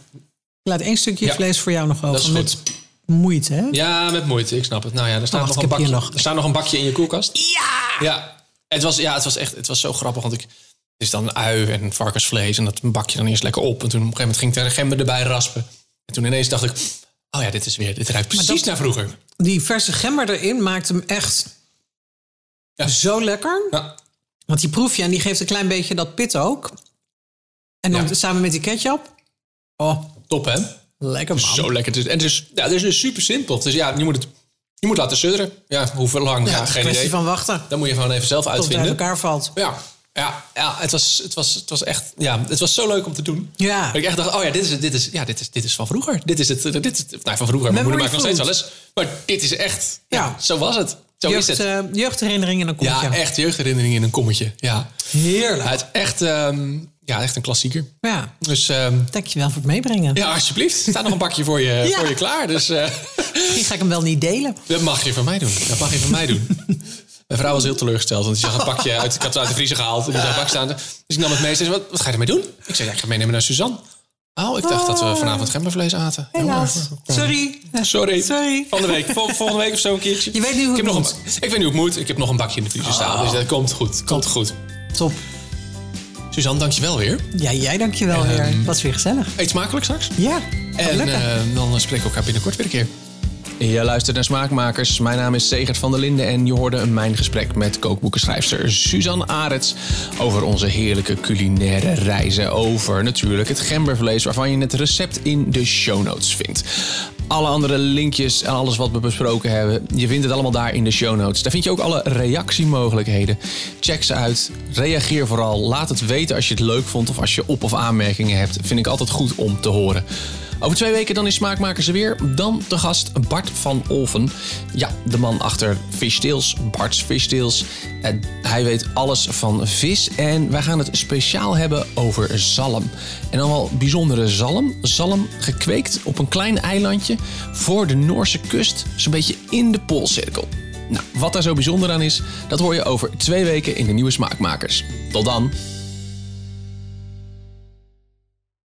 laat één stukje Ja. vlees voor jou nog over. Dat is met goed. moeite, hè? Ja, met moeite, ik snap het. Nou ja, er staat, wacht, nog, een Oh, ik heb bakje, hier nog. Er staat nog een bakje in je koelkast. Ja! Ja, het was, ja, het was echt het was zo grappig, want ik... Het is dan ui en varkensvlees en dat bak je dan eerst lekker op. En toen op een gegeven moment ging ik daar de gember erbij raspen. En toen ineens dacht ik, oh ja, dit is weer, dit ruikt precies dat- naar vroeger. Die verse gember erin maakt hem echt Ja. zo lekker. Ja, Want die proef je en die geeft een klein beetje dat pit ook. En dan Ja. samen met die ketchup. Oh, top hè? lekker man. Zo lekker. Het is, en het is, ja, het is dus super simpel. Dus ja, je moet het je moet laten sudderen. Ja, hoeveel lang, ja, Ja, geen kwestie idee. van wachten. Dan moet je gewoon even zelf Tot het uit uitvinden. elkaar valt. Ja, ja, ja het, was, het, was, het was echt. Ja, het was zo leuk om te doen. Ja. Dat ik echt dacht: oh ja, dit is, het, dit is, ja, dit is, dit is van vroeger. Dit is het. eh, Dit is, het- nou, van vroeger. Mijn moeder maakt nog Memory steeds wel eens. Maar dit is echt. Ja, Ja. zo was het. Zo Jeugd, is het. eh, jeugdherinnering en een ja, kommetje. echt jeugdherinnering in een kommetje. Ja. Ja, Heerlijk. het is echt, ehm, ja, echt een klassieker. Ja, Dus ehm, dankjewel voor het meebrengen. ja, alsjeblieft. Er staat nog een bakje voor je, [LAUGHS] Ja. voor je klaar. Dus eh, Misschien ga ik hem wel niet delen. dat mag je van mij doen. Dat mag je van mij [LAUGHS] doen. Mijn vrouw was heel teleurgesteld, want die zag een Oh. pakje uit, ik had het uit de vriezer gehaald. En die zag bak staan. Dus ik nam het mee en zei, wat, wat ga je ermee doen? Ik zei, ja, ik ga meenemen naar Suzanne. Oh, ik dacht dat we vanavond gembervlees aten. Helaas. Sorry. Sorry. Sorry. Van de week. Vol- volgende week of zo een keertje. Je weet nu hoe ik heb het Oh. nog een, Ik weet nu hoe het moet. Ik heb nog een bakje in de vriezer staan. Dus dat komt goed. Komt goed. Top. Suzanne, dankjewel weer. Ja, jij dankjewel weer. Was weer gezellig. Eet smakelijk straks. Ja, En lekker. eh, dan spreken we elkaar binnenkort weer een keer. Je luistert naar Smaakmakers. Mijn naam is Segert van der Linden en je hoorde mijn gesprek met kookboekenschrijfster Suzanne Arets over onze heerlijke culinaire reizen over natuurlijk het gembervlees waarvan je het recept in de show notes vindt. Alle andere linkjes en alles wat we besproken hebben, je vindt het allemaal daar in de show notes. Daar vind je ook alle reactiemogelijkheden. Check ze uit, reageer vooral, laat het weten als je het leuk vond of als je op- of aanmerkingen hebt. Vind ik altijd goed om te horen. Over twee weken dan is Smaakmakers er weer. Dan de gast Bart van Olven. Ja, de man achter Fish Tales, Bart's Fish Tales. En hij weet alles van vis. En wij gaan het speciaal hebben over zalm. En dan wel bijzondere zalm. Zalm gekweekt op een klein eilandje voor de Noorse kust. Zo'n beetje in de Poolcirkel. Nou, wat daar zo bijzonder aan is, dat hoor je over twee weken in de nieuwe Smaakmakers. Tot dan!